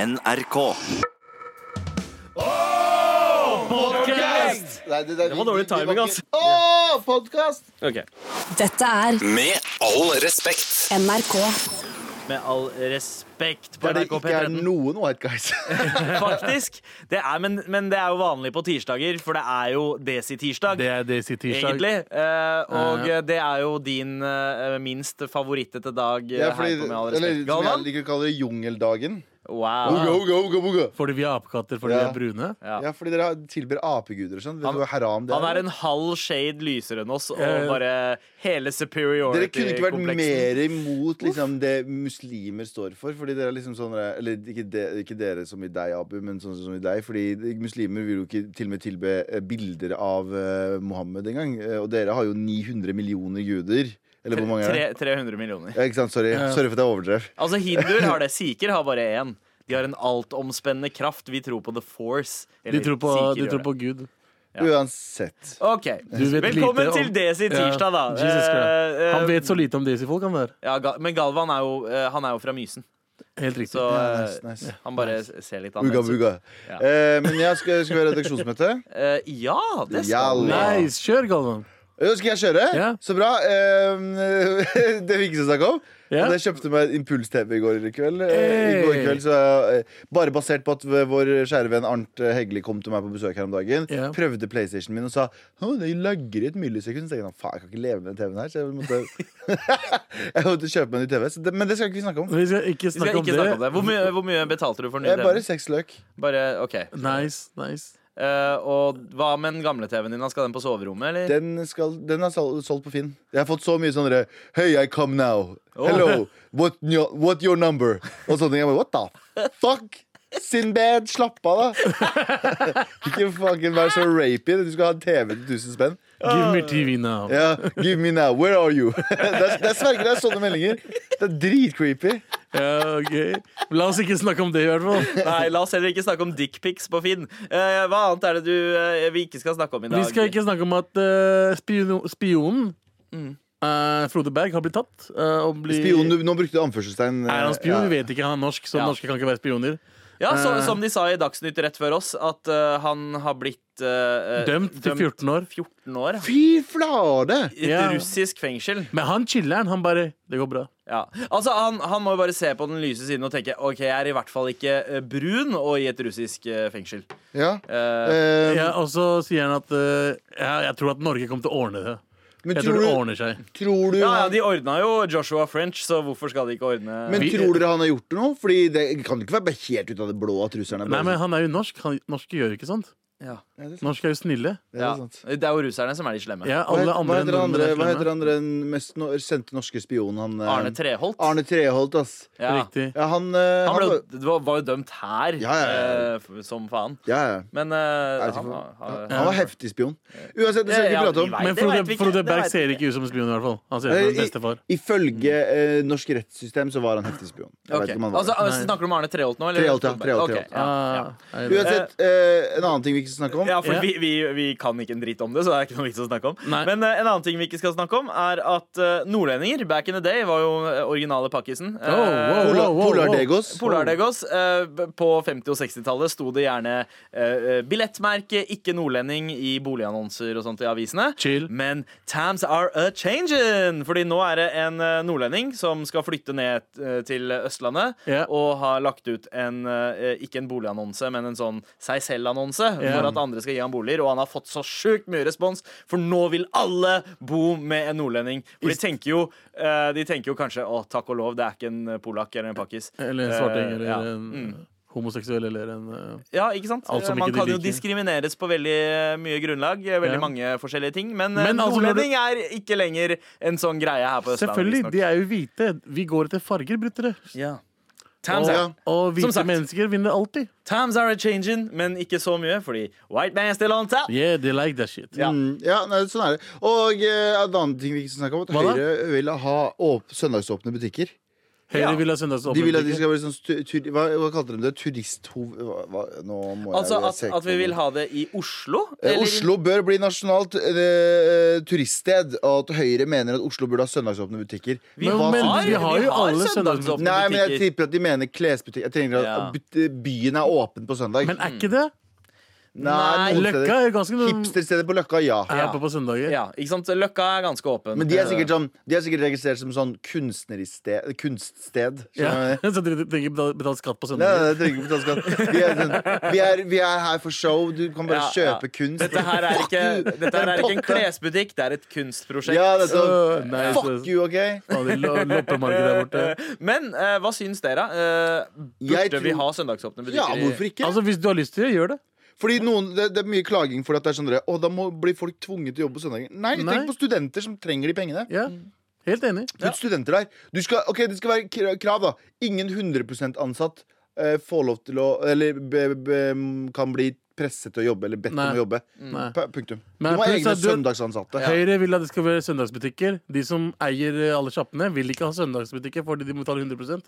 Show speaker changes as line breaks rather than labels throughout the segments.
NRK.
Nei, det, det,
Det var dårlig timing, altså.
Åh, podkast!
Ok.
Dette er
Med all respekt.
NRK.
Med all respekt på
Der det
NRK
ikke er
P13.
noen white guys.
Faktisk. Det er, men, men det er jo vanlig på tirsdager, for det er jo Desi-tirsdag.
Det er Daisy Tirsdag.
Egentlig. Eh, og
Ja, ja.
eh, det er jo din eh, minst favorittete dag eh,
Ja,
her på Med all
fordi, eller, som jeg
respekt. Galvan?
liker å kalle det, jungeldagen. Uga,
Wow.
uga, uga, uga.
Fordi vi er apekatter fordi vi
Ja.
er brune.
Ja.
Ja, fordi dere tilber apegudere og sånn. Vet
Han-
du hva haram det
Han er
er?
en halv shade lysere enn oss, og
Eh.
bare hele
Dere kunne ikke vært
superiority-kompleksen.
mer imot liksom, det muslimer står for. Fordi dere er liksom sånne, Eller ikke, de, ikke dere som i deg, Abu, men sånn som i deg. Fordi de- muslimer vil jo ikke til og med tilbe eh, bilder av eh, Mohammed engang. Eh, Og dere har jo 900 millioner guder. Eller hvor mange er det?
Tre- 300 millioner.
Ja, ikke sant? Sorry. Sorry for at jeg overdrev.
Altså, hinduer har det. Sikher har bare én. De har en altomspennende kraft. Vi tror på the force.
De
Eller
tror på,
sikher
de
gjør
tror
det.
på Gud.
Uansett.
Ok,
Du vet
Velkommen
lite om-
til Desi tirsdag, da.
Ja, Jesus Christ.
Eh, eh,
Han vet så lite om Daisy-folk, han der.
ja, Ga- Men Galvan er jo, eh, han er jo fra Mysen,
Helt riktig.
så
Ja, nice,
eh,
nice.
han bare ser litt
Uga,
annerledes ut.
buga.
Ja.
Eh, men jeg skal, skal vi ha redaksjonsmøte.
Eh, ja, det skal
Jalla.
vi.
Nice! Kjør, Galvan.
Jo, skal jeg kjøre?
Ja.
Så bra. Eh, det vi ikke skal snakke om.
Ja.
Men Jeg kjøpte meg impuls-TV i går kveld. Eh, I
Hey.
går kveld så, eh, bare basert på at vår kjære venn Arnt Hegli kom til meg på besøk her om dagen.
Ja.
Prøvde PlayStation min og sa at det lagrer et millisekund. Så tenkte jeg faen, jeg kan ikke leve med den TV-en her. Så jeg måtte, jeg måtte kjøpe meg en ny TV. Så det, men det skal ikke vi snakke om.
Vi skal ikke
Vi skal
snakke om
ikke snakke om
det.
det. Hvor mye, hvor mye betalte du for ny
Jeg er bare
TV?
seks løk.
Bare, ok
Nice, nice.
Eh, Og hva med den gamle TV-en din? da? Skal den på soverommet, eller?
Den, skal, den er sol- solgt på Finn. Jeg har fått så mye sånne der, Hey, I come now. Hello. What, your- what your number? Og sånne ting. Jeg bare, What the fuck? Sinbad, slapp av, da. Ikke fucking vær så rapey. Du skal ha en TV til 1000 spenn.
Give me TV now.
Ja, give me now. Where are you? Det er, det er sverger det er sånne meldinger. Det er dritcreepy.
Ja, ok. La oss ikke snakke om det, i hvert fall.
Nei, la oss heller ikke snakke om dickpics på Finn. Eh, hva annet er det du, eh, vi ikke skal snakke om i dag?
Vi skal ikke snakke om at eh, spiono, spionen
Mm.
eh, Frode Berg har blitt tatt. eh, og blir-
Spion, du, nå brukte du anførselstegn. eh,
Er han spion?
Ja.
Vi vet ikke. Han er norsk, så
Ja.
norske kan ikke være spioner.
Ja, så,
Eh.
Som de sa i Dagsnytt rett før oss, at eh, han har blitt eh,
Dømt til 14 år.
14 år.
Fy flate!
I et
Ja.
russisk fengsel.
Men han chiller'n. Han bare Det går bra.
Ja. Altså, han, han må jo bare se på den lyse siden og tenke OK, jeg er i hvert fall ikke eh, brun og i et russisk eh, fengsel.
Ja.
Eh,
Eh,
Ja, og så sier han at eh, ja, jeg tror at Norge kommer til å ordne det.
men
Jeg
tror
tror det
du,
ordner seg.
tror du
ja, ja, De ordna jo Joshua French, så hvorfor skal de ikke ordne
Men
Vi-
tror dere han har gjort det nå? Fordi det kan jo ikke være helt ut av det blå at russerne er
Nei,
blå.
men han er jo norsk. Han, norske gjør ikke sånt.
ja.
Ja, det er sant.
Norske er jo snille.
Det er
Ja.
sant.
Det er jo russerne som er de slemme.
Ja,
Hva
alle
het-
andre
hva
enn
heter
nordmenn
andre,
er
hva heter
slemme.
andre enn mest no sendte norske spion? Han, eh,
Arne Treholt.
Arne Treholt, ass.
ja.
Riktig.
Ja, han, eh,
Han
han
ble, jo- det var, var jo dømt her,
Ja, ja, ja.
eh, f- som faen.
ja, ja.
Men eh,
Jeg vet ikke
han,
hvorfor-
har-
han var heftig spion. Uansett, det skal vi
Ja,
ikke
ja,
prate om.
vi vet. Nei,
Men
det vet vi
Frode,
ikke.
Frode
Det
Berg
vet vi
ser ikke ut som en spion, i hvert fall. Han ser ut
Eh,
som en bestefar.
Ifølge eh, norsk rettssystem så var han heftig spion. Jeg
Ok.
vet ikke om han var
altså,
det.
altså, snakker du om Arne Treholt nå? Eller?
Treholt, ja. Treholt,
Ok,
Treholt.
ja.
Ah, er det-
Uansett, eh, en annen ting vi ikke skal snakke om.
Ja, for
Ja.
Vi, vi, vi kan ikke en dritt om det, så det er ikke noe vits å snakke om.
Nei.
Men eh, en annen ting vi ikke skal snakke om, er at eh, nordlendinger back in the day var jo eh, originale pakkisen. Eh,
Oh, wow,
Pola-
wow, wow, wow.
Polardegos.
Polardegos. eh, b- På 50- og 60-tallet sto det gjerne eh, eh, billettmerke 'ikke nordlending' i boligannonser og sånt i avisene.
Chill.
Men times are a changing! Fordi nå er det en eh, nordlending som skal flytte ned eh, til Østlandet
Ja.
og har lagt ut en eh, ikke en boligannonse, men en sånn seg selv-annonse
Ja.
for at andre skal gi ham boliger. Og han har fått så sjukt mye respons, for nå vil alle bo med en nordlending. For de tenker jo, eh, de tenker jo kanskje å, takk og lov, det er ikke en eh, polakk eller en pakkis.
Eller en svarting,
Eh,
eller
ja.
en homoseksuell, eller en eh,
Ja, ikke sant?
Alt som
Man
ikke de
kan jo
liker.
diskrimineres på veldig eh, mye grunnlag. Veldig
Ja.
mange forskjellige ting. Men,
Men
eh,
altså, når
nordlending er ikke lenger en sånn greie her på Østlandet.
Selvfølgelig,
visstnok.
de er jo hvite. Vi går etter farger, bruttere.
Ja. Times,
Og,
are,
og
Som
hvite
sagt.
mennesker vinner alltid.
times are a changing, men ikke så mye, fordi white man still on top.
Yeah, they like that shit.
Ja.
Mm, ja, nei, sånn er det. Og eh, en annen ting vi ikke skal snakke om, at
Hva da?
Høyre vil ha åp søndagsåpne butikker.
Høyre
Ja.
vil ha søndagsåpne
De vil at de
butikker.
skal være sånn stu- tur, hva, hva kalte de det? Turisthov... Hva, hva, nå må jeg-
Altså
jeg
at,
ser ikke
at vi
på
vil
det.
ha det i Oslo?
Eh,
eller i-
Oslo bør bli nasjonalt eh, turiststed, og at Høyre mener at Oslo burde ha søndagsåpne butikker.
Vi
Men-
har,
men
vi har jo alle
søndagsåpne
Nei, men jeg
søndagsåpne butikker.
tipper at de mener klesbutikk. Jeg trenger at
Ja.
but- byen er åpen på søndag.
Men
Mm.
er ikke det?
Nei, noen steder.
Løkka er ganske noen
Hipstersteder på Løkka, ja.
er oppe på søndager.
Ja, ikke sant? Løkka er ganske åpen. Eh,
Men de er sikkert, sånn, de er sikkert registrert som sånn kunstneristed, kunststed.
Ja.
Skjønner du?
Så dere trenger ikke betale- betale skatt
Nei,
på
nei,
søndager.
jeg trenger ikke betale skatt. Vi er, sånn, vi, er, vi er her for show. Du kan bare
Ja, ja.
kjøpe kunst.
Dette her er
sånn- Fuck
ikke,
you!
dette her er ikke en
potte.
klesbutikk, det er et kunstprosjekt.
Ja, dette,
Øh, nei, så-
fuck you,
Altså-
OK?
Faen, det lo- Loppemarkedet der borte.
Men eh, hva syns dere? Eh, burde
Jeg tror-
vi ha søndagsåpne butikker?
Ja,
i-
hvorfor ikke?
Altså, Hvis du har lyst til det, gjør det.
Fordi noen, det, det er mye klaging for at det er sånn Å, da må, blir folk tvunget til å jobbe på søndagen. Nei,
Nei.
tenk på studenter som trenger de pengene.
Ja, Helt enig.
Putt studenter der. Du skal, ok, Det skal være kra- krav, da. Ingen 100 ansatt eh, får lov til å Eller be, be, kan bli presset til å jobbe, eller bedt
Nei.
om å jobbe.
Nei.
P- Punktum.
Men
du må ha
pluss
egne
at du-
søndagsansatte.
Høyre vil at det skal være søndagsbutikker. De som eier eh, alle sjappene, vil ikke ha søndagsbutikker fordi de må betale 100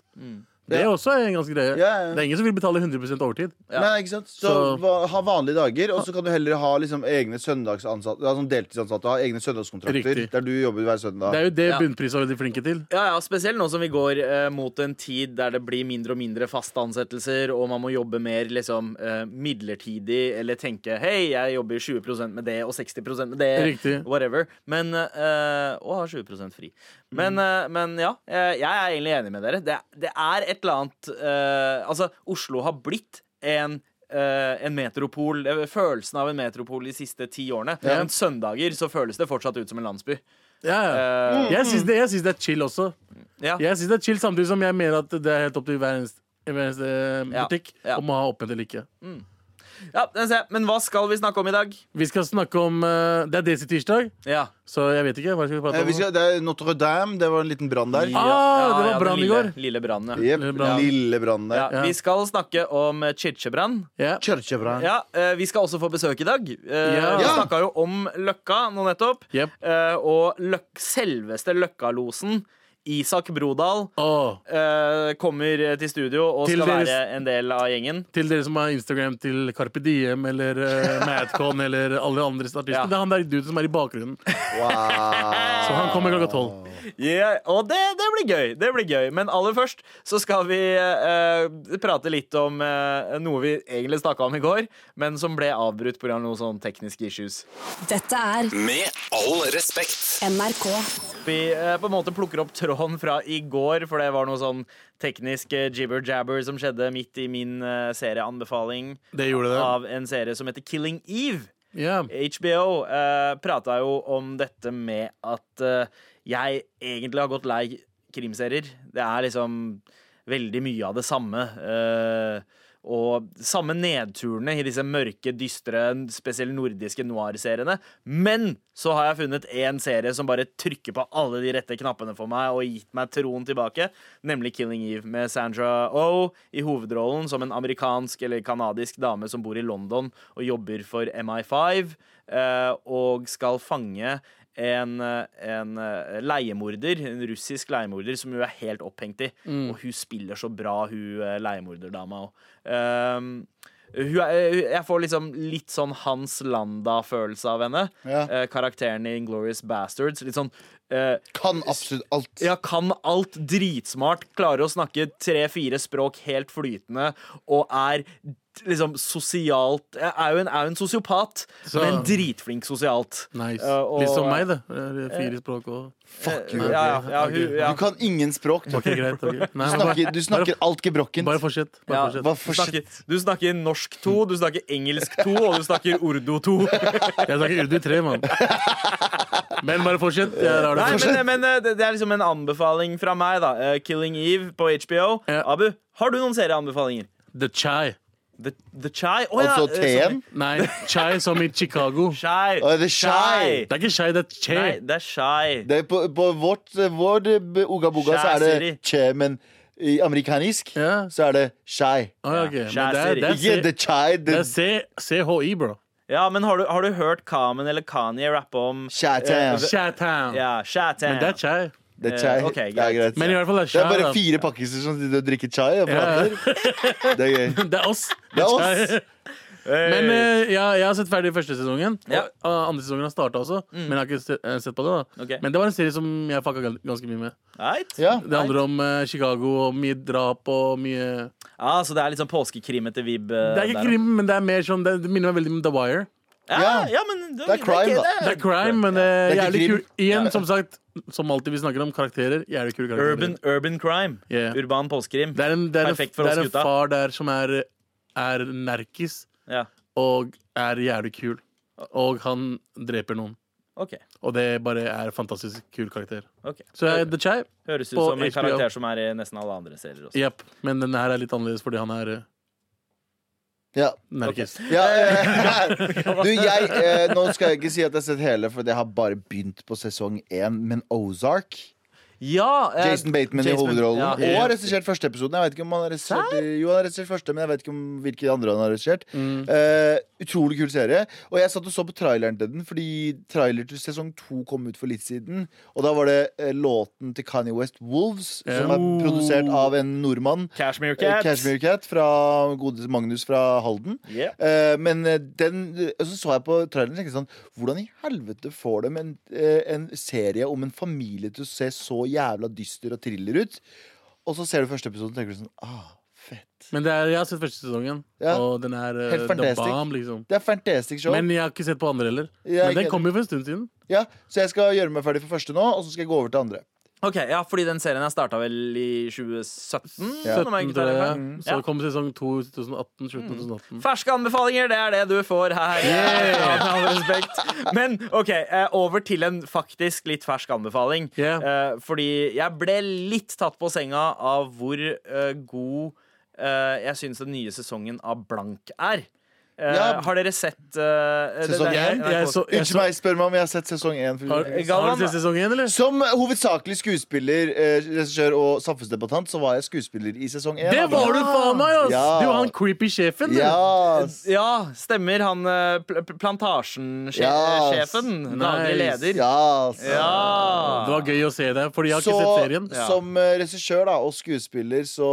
Det er også en ganske greie.
Ja, ja.
Det er ingen som vil betale 100 overtid.
Ja.
Nei, ikke sant? Så,
Så-
hva- ha vanlige dager, og så kan du heller ha liksom, egne søndagsansatte ja, sånn deltidsansatte. Ha egne søndagskontrakter
Riktig.
der du jobber hver søndag.
Det er jo det
Ja.
bunnprisa er veldig flinke til.
Ja, ja, Spesielt nå som vi går eh, mot en tid der det blir mindre og mindre faste ansettelser, og man må jobbe mer liksom, eh, midlertidig, eller tenke hei, jeg jobber 20 med det og 60 med det,
Riktig.
whatever. Men, eh, og har 20 fri. Men, eh, men ja, eh, jeg er egentlig enig med dere. Det, det er et eller annet eh, Altså, Oslo har blitt en eh, en metropol, eh, Følelsen av en metropol de siste ti årene.
Ja.
Men søndager så føles det fortsatt ut som en landsby.
Ja, ja.
Eh,
Jeg syns det, jeg synes det er chill også.
ja.
Jeg synes det er chill Samtidig som jeg mener at det er helt opp til hver eneste, hver eneste eh,
Ja,
butikk
ja.
om å ha åpent eller ikke.
Ja, den ser jeg. Men hva skal vi snakke om i dag?
Vi skal snakke om eh, Det er Daisy tirsdag,
Ja.
så jeg vet ikke. Hva skal vi prate
Eh,
om?
vi skal, det er Notre-Dame. Det var en liten brann der.
Ah, det var
den
brann i
lille-
går.
Lille brannen, ja.
Jep,
Lille brann.
Lille brann der.
ja.
Ja.
Vi skal snakke om eh, kirkebrann.
Ja.
Kirkebrann.
Ja, eh, vi skal også få besøk i dag. Eh,
Ja.
Vi
Ja.
snakka jo om Løkka nå nettopp.
Jep.
Eh, og løk, selveste Løkkalosen, Isak Brodal,
Åh,
eh, kommer til studio og
Til
skal
deres-
være en del av gjengen.
til dere som har Instagram til Carpe Diem eller eh, Madcon eller alle andre artister.
Ja.
Det er han der duden som er i bakgrunnen.
Wow.
Så han kommer klokka tolv.
Ja, og det, det blir gøy. Det blir gøy. Men aller først så skal vi eh, prate litt om eh, noe vi egentlig snakka om i går, men som ble avbrutt pga. noen sånne tekniske issues.
Dette er
Med all respekt.
NRK.
Vi eh, på en måte plukker opp tråden fra i går, for det var noe sånn teknisk eh, jibber-jabber som skjedde midt i min eh, serieanbefaling
Det gjorde det.
av en serie som heter Killing Eve.
Ja.
HBO eh, prata jo om dette med at eh, jeg egentlig har gått lei krimserier. Det er liksom veldig mye av det samme. Eh, og samme nedturene i disse mørke, dystre, spesielt nordiske noir-seriene. Men så har jeg funnet én serie som bare trykker på alle de rette knappene for meg og gitt meg troen tilbake, nemlig Killing Eve med Sandra Oh i hovedrollen som en amerikansk eller kanadisk dame som bor i London og jobber for MI5 eh, og skal fange en, eh, en eh, leiemorder, en russisk leiemorder, som hun er helt opphengt i. Og hun spiller så bra, hun eh, leiemorderdama òg. hun er, jeg får liksom litt sånn Hans Landa-følelse av henne.
Ja.
Eh, karakteren i Inglorious Bastards. Litt sånn eh,
Kan absolutt alt.
ja, kan alt dritsmart, klarer å snakke tre-fire språk helt flytende og er d- liksom sosialt Er jo en, er jo en sosiopat,
Så-
men dritflink sosialt.
Nice.
Eh, og-
Litt som meg, det. Eh, Fire språk og
Fuck
Ja,
Eh,
you.
ja, ja, hun, ja.
Du kan ingen språk. Du,
Ok, greit. ok. Nei,
du
men
snakker, du snakker alt
bare,
gebrokkent.
bare fortsett. Bare
Ja.
Hva
fortsett.
Du
for shit?
snakker, du snakker norsk 2, du snakker engelsk 2, og du snakker urdu 2.
Jeg snakker urdu i tre, mann. Men bare fortsett. Jeg lar det
Nei,
fortsette.
men, men eh, det det er liksom en anbefaling fra meg, da. Eh, 'Killing Eve' på HBO.
Ja.
Abu, har du noen serieanbefalinger?
The Chai.
The, the Chai? Å ja,
Altså
eh,
TM.
Nei, Chai som i Chicago.
sorry. Chai.
Å, The Chai.
Det er ikke Chai, det er Che.
Nei, det er Chai.
Det er på, på vårt, vår uga-boga så er det
Shaziri.
che, men i amerikanisk
Ja.
så er det chai.
Ah, ja, ok. Men det er, det er,
Ikke
C-
the chai,
det
the
er C CHI, bro.
Ja, men har du, har du hørt Kamen eller Kanye rappe om
chatam.
Chatham.
Ja, Shatan.
Men det er Chai.
Det er chai.
Eh, ok,
det er
greit.
greit.
Men i hvert fall det
det
er
er bare
chai,
fire pakkiser som sitter og drikker chai og prater. Det er gøy.
da. Det er oss.
Det er oss.
Men eh, ja, jeg har sett ferdig første sesongen.
Ja. Mm.
Og, og andre sesongen har starta også. Men jeg har ikke sett, eh, sett på det. da
Ok.
Men det var en serie som jeg fucka gan- ganske mye med.
Right.
Ja.
Det handler om eh, Chicago og mye drap og mye
Ah, så det er litt sånn påskekrim etter Vib? eh,
Det er ikke
der,
krim, men det er mer sånn Det, det minner meg veldig om The Wire.
Ja, ja.
Ja.
men det,
Det er crime,
ikke-
da.
Det er crime, men det
Det er
er
ikke
jævlig
krim.
kul. Igjen,
Ja.
som sagt, som alltid vi snakker om karakterer. Jævlig kule karakterer.
Urban, urban crime.
Yeah.
Urban påskekrim.
Det er en, det er en,
Perfekt for
det
oss
er en
gutta.
far der som er, er nerkis
Ja.
og er jævlig kul. Og han dreper noen.
Ok.
Og det bare er fantastisk kul karakter.
ok
Så jeg, The Chai,
Høres ut
på
som en
HBO.
karakter som er i nesten alle andre serier også.
jepp. Men denne her er litt annerledes fordi han er eh,
Ja.
nerkis.
Ja, eh, du, jeg, eh, nå skal jeg ikke si at jeg har sett hele, for jeg har bare begynt på sesong én. Men Ozark
Ja, eh,
Jason Bateman i
Jason-
hovedrollen.
ja.
Og har regissert første episoden. Jeg vet ikke om han har regissert Jo, han har regissert første, men jeg vet ikke om hvilke andre han har regissert.
Mm.
Eh, utrolig kul serie. Og jeg satt og så på traileren til den, fordi trailer til sesong to kom ut for litt siden. Og da var det eh, låten til Kanye West, Wolves, som er
Oh.
produsert av en nordmann.
Cashmere
eh,
Cat.
Cashmere Cat fra godeste Magnus fra Halden.
Yeah.
Eh, men eh, den og Så så jeg på traileren og tenkte sånn Hvordan i helvete får de en, eh, en serie om en familie til å se så jævla dyster og thriller ut? Og så ser du første episode og tenker du sånn Ah, fett.
Men det er, jeg har sett første sesongen,
Ja.
og den er eh,
Helt
the
fantastisk.
bomb, liksom.
Det er fantastisk show.
Men jeg har ikke sett på andre heller.
Ja,
Men den
ikke-
kom jo for en stund siden.
ja, så jeg skal gjøre meg ferdig for første nå, og så skal jeg gå over til andre.
Ok, ja, fordi den serien jeg starta vel i 2017?
Ja.
så nå må jeg
17,
ikke ta
tror
det
jeg.
feil.
mm. Så
Ja. Mm.
kom sesong 2 i 2018. Slutten av 2018.
Ferske anbefalinger, det er det du får her. Ja, med all respekt. Men OK, eh, over til en faktisk litt fersk anbefaling.
Yeah.
Eh, Fordi jeg ble litt tatt på senga av hvor eh, god eh, jeg syns den nye sesongen av Blank er. Eh,
Ja.
Har dere sett eh, det-
Sesong én?
det- NRK-
Jeg så, jeg
Unnskyld
så,
meg, spør meg om jeg har sett sesong én.
har,
for-
har du sett sesong 1, eller?
Som hovedsakelig skuespiller, eh, regissør og samfunnsdebattant, så var jeg skuespiller i sesong én.
Det
altså.
var du faen meg! ass
Ja.
Du var han creepy sjefen. du.
Ja,
Ja, stemmer. Han eh, pl pl-
Ja.
plantasjen-sjefen. Daglig
Nice.
leder.
ja, så-
Ja.
Det var gøy å se deg, Fordi jeg har
så,
ikke sett serien. Altså,
Ja.
Som eh, regissør da, og skuespiller så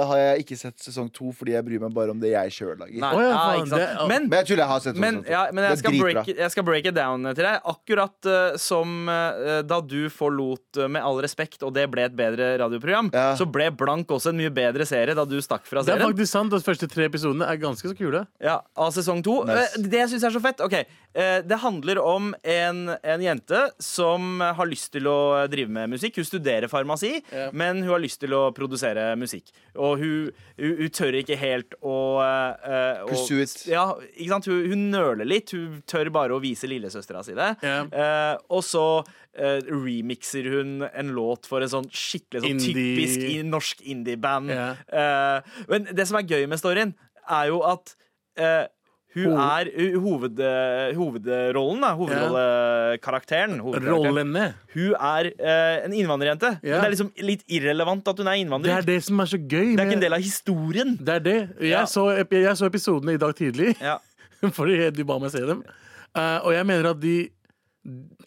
eh, har jeg ikke sett sesong to fordi jeg bryr meg bare om det jeg sjøl lager.
Nei,
Å ja,
ja,
faen,
ikke sant.
det er-
men,
Men jeg tuller, jeg har sett sesong
men,
to.
ja, men
Det er
jeg, skal
dritbra.
break, it- jeg skal break it down til deg. Akkurat eh, som eh, da du forlot eh, Med all respekt, og det ble et bedre radioprogram,
Ja.
så ble Blank også en mye bedre serie da du stakk fra
Det er
serien.
faktisk sant. De første tre episodene er ganske så kule.
Ja, av sesong to.
Nice.
Eh, Det jeg syns er så fett, ok eh, Det handler om en, en jente som har lyst til å drive med musikk. Hun studerer farmasi, men hun har lyst til å produsere musikk. Og hun, hun, hun tør ikke helt å eh, eh, å-
Pursue it.
Ja, ikke sant? Hun, hun nøler litt. Hun tør bare å vise lillesøstera si det.
Ja.
Eh, og så eh, remixer hun en låt for en sånn skikkelig sånn
Indie-
typisk i norsk indie-band.
Ja.
Eh, men det som er gøy med storyen, er jo at eh, hun
Hoved-
er hu- hoved, eh, hovedrollen, da. Hovedrollekarakteren. hovedkarakteren.
Rollene.
Hun er eh, en innvandrerjente. Men
Ja.
Det er liksom litt irrelevant at hun er
Det
innvandrer.
er det som er så gøy.
Det er ikke en
med-
del av historien.
det er det.
Ja.
Jeg, så, ep- jeg så episodene i dag tidlig,
Ja.
fordi du ba meg se dem. Eh, og jeg mener at de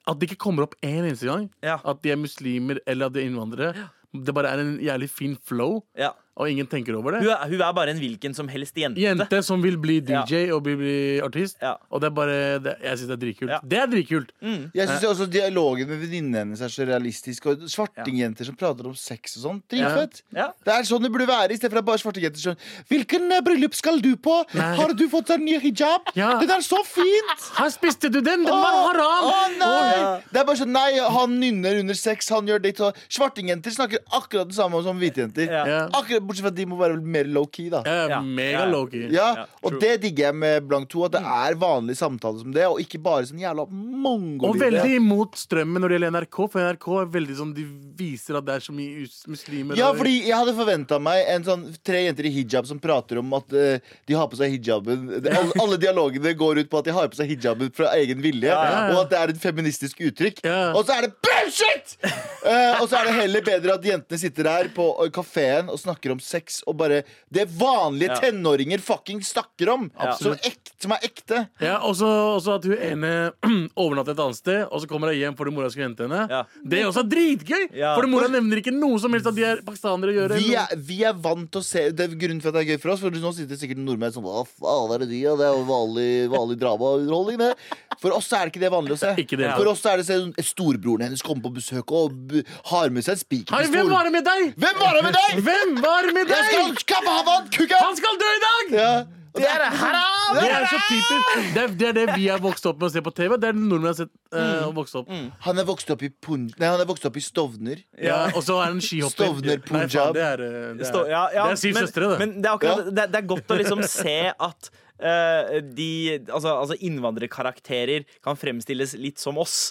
At det ikke kommer opp én eneste gang
Ja.
at de er muslimer eller at de er innvandrere. Det bare er en jævlig fin flow,
Ja.
og ingen tenker over det.
Hun, er, hun er bare en hvilken som helst jente.
Jente som vil bli DJ og bli, bli artist.
Ja.
Og det er bare det, Jeg syns det er dritkult.
Ja.
Det er dritkult!
Jeg syns også dialogen med venninnene hennes er så realistisk. Og svartingjenter som prater om sex og sånn. Dritfett.
Ja.
Det er sånn det burde være, istedenfor at bare svartingjenter sånn Hvilken eh, bryllup skal du på?
Nei.
Har du fått deg ny hijab?
Ja.
Den er så fint!
Her spiste du den! Den var
Åh,
haram!
åh, nei!
Åh,
Det er bare sånn, nei, han nynner under sex, han gjør ditt og Svartingjenter snakker akkurat det samme som hvite jenter.
Ja.
Ja.
Akkurat, bortsett fra at de må være mer low-key, da. Ja.
jeg er
Ja. Ja.
Mega low-key.
og det digger jeg med Blank 2. At det er vanlig samtale som det, og ikke bare sånn jævla
Og
mongolyde.
veldig imot strømmen når det gjelder NRK, for NRK er veldig sånn, de viser at det er så mye us- muslimer.
Ja,
og-
fordi jeg hadde forventa meg en sånn tre jenter i hijab som prater om at eh, de har på seg hijaben. Det- Alle, alle dialogene går ut på at de har på seg hijaben fra egen vilje,
ja, ja.
og at det er et feministisk uttrykk.
Ja.
Og så er det bullshit! Eh, og så er det heller bedre at jentene sitter der på kafeen og snakker snakker om sex, og bare Det vanlige
Ja.
tenåringer fucking snakker om!
Ja.
Som, ekte, som er ekte.
Ja, også, også at hun ene overnatter et annet sted, og så kommer hun hjem fordi mora skal hente henne.
Ja.
Det er også dritgøy!
Ja.
Fordi mora nevner ikke noe som helst at de er pakistanere å gjøre.
Vi er, vi er vant til å se Det er grunnen for at det er gøy for oss. For Nå sitter sikkert nordmenn sånn Hva faen er det de og Det er jo vanlig, vanlig dramaunderholdning, det. For oss er det ikke det vanlig å se.
Ikke det.
For oss er det sånn Storebroren hennes kommer på besøk og b- har med seg en spiker
Hei,
til
hvem var
storen.
det med deg?!
Hvem var det med deg?!
Hvem var det med
Jeg skal
deg?!
skape havan, kukken!
Han skal dø i dag!
Ja.
Det er haram!
Det er så typisk Det er det, er det vi er vokst opp med å se på TV. Det er det nordmenn har sett eh, og vokst opp.
Han er vokst opp i, Pun- nei, han er vokst opp i Stovner.
Ja, og så er han skihopper.
Stovner,
Nei, faen,
Punjab.
Det er, eh, det
Stå-
er,
ja, ja,
det er syv
men,
søstre, det.
Men det er, akkurat,
Ja.
det, det er godt å liksom se at eh, de, altså, altså innvandrerkarakterer kan fremstilles litt som oss.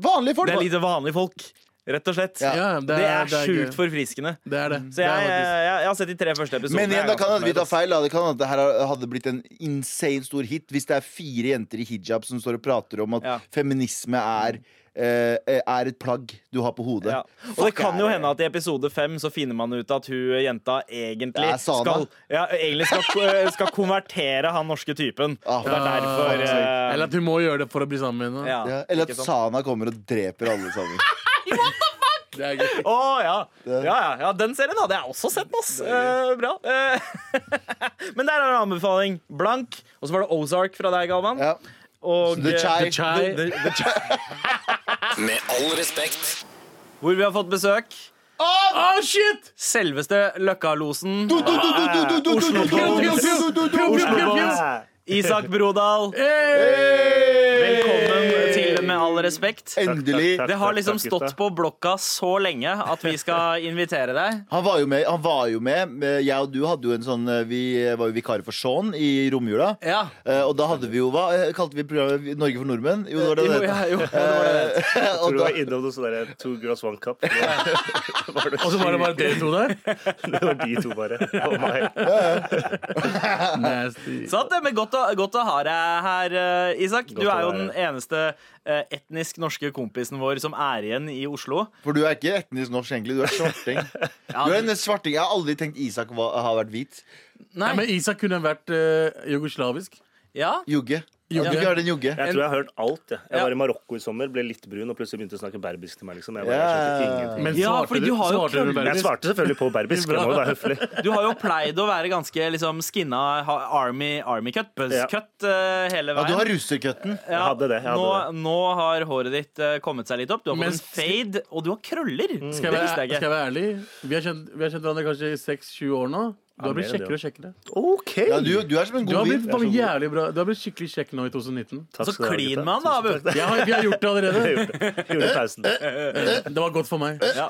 Vanlige folk!
Det er litt vanlige folk, rett og slett.
Ja.
Ja,
Det er,
gøy.
sjukt forfriskende.
Det er det.
Så
det
jeg,
er
jeg,
faktisk-
jeg, har sett de tre første episodene.
Men igjen,
Jeg
da
er
kan
ganske
hende vi
fornøyd,
tar
ass.
feil. Da. Det kan hende at det her hadde blitt en insane stor hit hvis det er fire jenter i hijab som står og prater om at
Ja.
feminisme er eh, er et plagg du har på hodet.
Ja. Og det
Fuck,
kan jo
er-
hende at i episode fem så finner man ut at hun jenta egentlig
Det er Sana.
skal, ja, egentlig skal, eh, skal konvertere han norske typen.
Ah,
Og det er derfor eh,
Eller at hun må gjøre det for å bli sammen med henne.
ja,
ja. Eller at
ikke sant?
Sana kommer og dreper alle sammen.
Det er gøy.
Å ja. Ja, ja, ja. Den serien hadde jeg også sett, ass. Eh, bra. Eh, Men der er en anbefaling. Blank. Og så var det Ozark fra deg, Galvan.
Ja.
Og
The
eh,
Chai.
Chai.
The- The Chai,
Med all respekt.
eh, hvor vi har fått besøk.
Å, shit!
Selveste Løkkalosen.
Oslo-boys.
Isak Brodal. Velkommen til Med all respekt.
Endelig.
Det har liksom stått på blokka så lenge at vi skal invitere deg.
Han var jo med. Han var jo med. Jeg og du hadde jo en sånn eh, Vi var jo vikarer for Sean i romjula.
Ja.
Eh, og da hadde vi jo hva eh, kalte vi programmet Norge for nordmenn? Jo, det var det
Jo,
det
ja,
het.
jo, det var det.
Eh, og
Tror du
da-
var innom noe sånn der Two girls, one cup. Det
Og så var det bare dere to der?
var de to, bare. Og meg.
Nasty.
Sant Sånn, det, men godt å, godt å ha deg her, eh, Isak. Du
Godt å
er jo
være
den eneste eh, etnisk norske kompisen vår som er igjen i Oslo.
For du er ikke etnisk norsk, egentlig. Du er svarting.
Ja,
Du er en svarting. Jeg har aldri tenkt Isak var, har vært hvit.
Nei, men Isak kunne vært eh, jugoslavisk.
ja.
Jugge.
Jugge.
Jugge har den jugge.
Jeg tror jeg har hørt alt. Jeg, jeg
Ja.
var i Marokko i sommer, ble litt brun og plutselig begynte å snakke berbisk til meg. liksom Jeg, bare,
Ja.
skjønte ingenting.
Men
Ja, fordi du har jo
svarte du
krøll-
Men jeg
berbisk?
svarte selvfølgelig på berbisk. Jeg må jo være høflig.
Du har jo pleid å være ganske liksom, skinna ha- army, army cut, buzz
Ja.
cut, eh, hele
Ja,
veien.
du har russercutten.
Ja,
Jeg hadde det, jeg hadde
nå, nå har håret ditt eh, kommet seg litt opp. Du har
Men
fått en fade, og du har krøller.
Mm.
Det
Skal jeg,
visste jeg
være, skal
ikke.
jeg være ærlig? Vi har kjent, vi har kjent hverandre kanskje i 6-7 år nå. Du har blitt
mer enn
kjekkere og kjekkere.
OK!
Ja, du, du er som en
Du har
god
blitt,
vin.
faen, jævlig bra. Du har blitt skikkelig kjekk nå i 2019.
Takk
Så
skal dere ha,
klin
gutta.
med han, da, Abu.
Jeg har, vi har gjort det allerede.
Jeg gjorde det. Jeg Gjorde pausen.
Det var godt for meg.
Ja.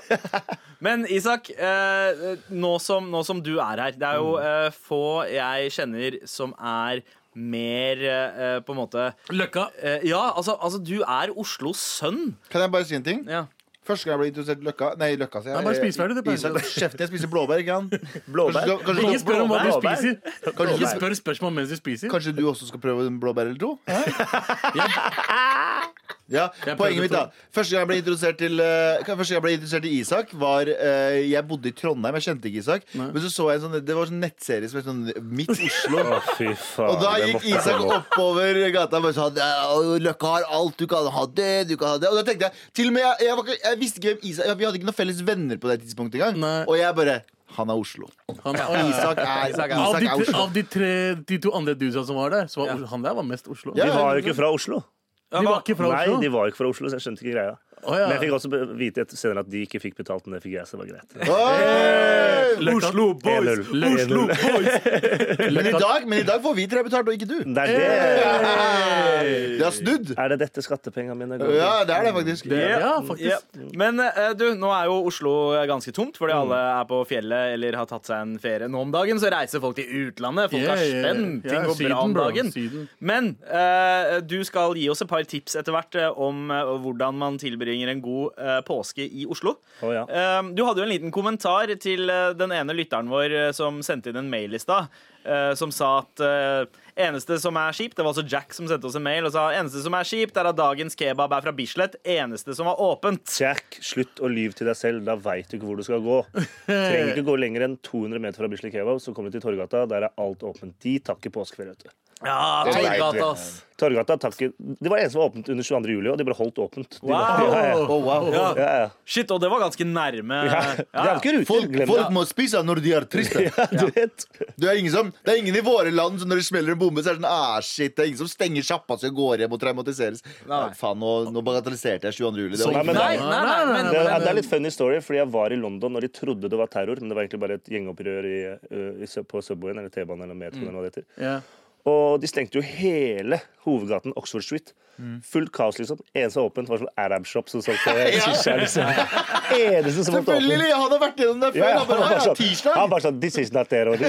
Men Isak, eh, nå, som, nå som du er her Det er
Mm.
jo eh, få jeg kjenner som er mer eh, på en måte
Løkka.
eh, Ja, altså, altså du er Oslos sønn.
Kan jeg bare si en ting?
Ja.
Første gang jeg ble introdusert Løkka Nei, Løkka, sier
Nei, bare spis ferdig, du pleier
Isak, kjeften, jeg spiser blåbær, ikke sant? Kanskje,
Blåbær.
du- kanskje,
Ikke
du-
spør om hva du
Blåbær.
spiser.
kanskje,
Ikke
du-
spør spørsmål mens du spiser.
kanskje du også skal prøve en blåbær eller to? Hæ? Ja,
Jeg prøvde
poenget mitt da Første gang jeg ble introdusert til eh, Første gang jeg ble introdusert til Isak Var eh, Jeg bodde i Trondheim, jeg kjente ikke Isak Men så så jeg en sånn Det var en sånn nettserie som het sånn Mitt Oslo
Å, fy faen.
Og da
det
gikk
måtte jeg
Isak
få.
oppover gata og bare sa «Ja, Løkka har alt, du kan ha det, du kan ha det. Og da tenkte jeg til og med, jeg, jeg, var, ikke- jeg visste ikke hvem Isak Vi hadde ikke noen felles venner på det tidspunktet engang.
Nei.
Og jeg bare Han er Oslo.
Han, Oi,
Isak er, Isak er,
av de, tre-
Oslo.
av de, tre, de to andre dusa som var der, så var Os- han der var mest Oslo.
Ja.
De var jo ikke fra Oslo.
De var ikke fra
Nei,
Oslo.
de var ikke fra Oslo, så jeg skjønte ikke greia.
Å, ja.
Men jeg fikk også be- vite et- senere at de ikke fikk betalt, men det fikk jeg, så det var greit. E
Oi!
Løkka.
Boys! Oslo!
Men i dag, men i dag får vi tre betalt, og ikke du.
Det er det.
Det har snudd.
Er det dette skattepengene mine går til?
Ja, det er det faktisk.
Ja, faktisk.
Ja. Men eh, du, nå er jo Oslo eh, ganske tomt,
Mm.
fordi alle er på fjellet eller har tatt seg en ferie nå om dagen. Så reiser folk til utlandet. Folk
Yeah,
er
yeah, yeah.
spent. Ting
Ja,
går
Syden,
bra om
bro,
dagen.
Syden.
Men eh, du skal gi oss et par tips etter hvert eh, om eh, hvordan man tilber tilbringer en god eh, påske i Oslo.
Å, ja.
Eh, du hadde jo en liten kommentar til eh, den ene lytteren vår eh, som sendte inn en mail i stad, eh, som sa at eh, eneste som er kjipt Det var altså Jack som sendte oss en mail og sa eneste som er kjipt, er at dagens kebab er fra Bislett. Eneste som var åpent.
Jack, slutt å lyve til deg selv. Da veit du ikke hvor du skal gå. Trenger ikke gå lenger enn 200 meter fra Bislett Kebab, så kommer du til Torgata. Der er alt åpent. De takker påskeferie, vet du.
Ja,
Det vet
Torgata,
vi.
ass.
Torgata takker Det var det eneste som var åpent under 22. juli, og de ble holdt åpent. De
Wow!
ja, ja.
Oh, wow.
Ja.
Ja, ja.
Shit, og det var ganske nærme.
Ja. Det er jo ikke ruter.
Folk,
Glem det.
folk må spise når de er triste.
Ja, du vet.
Det er, ingen som, det er ingen i våre land som når det smeller en bombe, så er det sånn ah, shit, det er ingen som stenger sjappa så jeg går hjem og traumatiseres.
Nei.
Nei, Faen, nå, nå bagatelliserte jeg 22. juli. Det
Nei,
var
men-
Nei, nei, nei, men,
Det er, det er litt funny story, fordi jeg var i London når de trodde det var terror, men det var egentlig bare et gjengopprør i, ø, i, sub- på Subwayen eller T-banen eller metroen eller hva det heter.
Ja.
Og de stengte jo hele hovedgaten Oxford Street.
Mm.
Fullt kaos, liksom. Eneste åpent var sånn Arab Shop som solgte shisha. Liksom. Eneste som holdt åpent.
Selvfølgelig! Han har vært gjennom det før.
Ja, ja,
han bare,
var
«Ah, ja,
sånn-
tirsdag.
han var sånn This is not terror.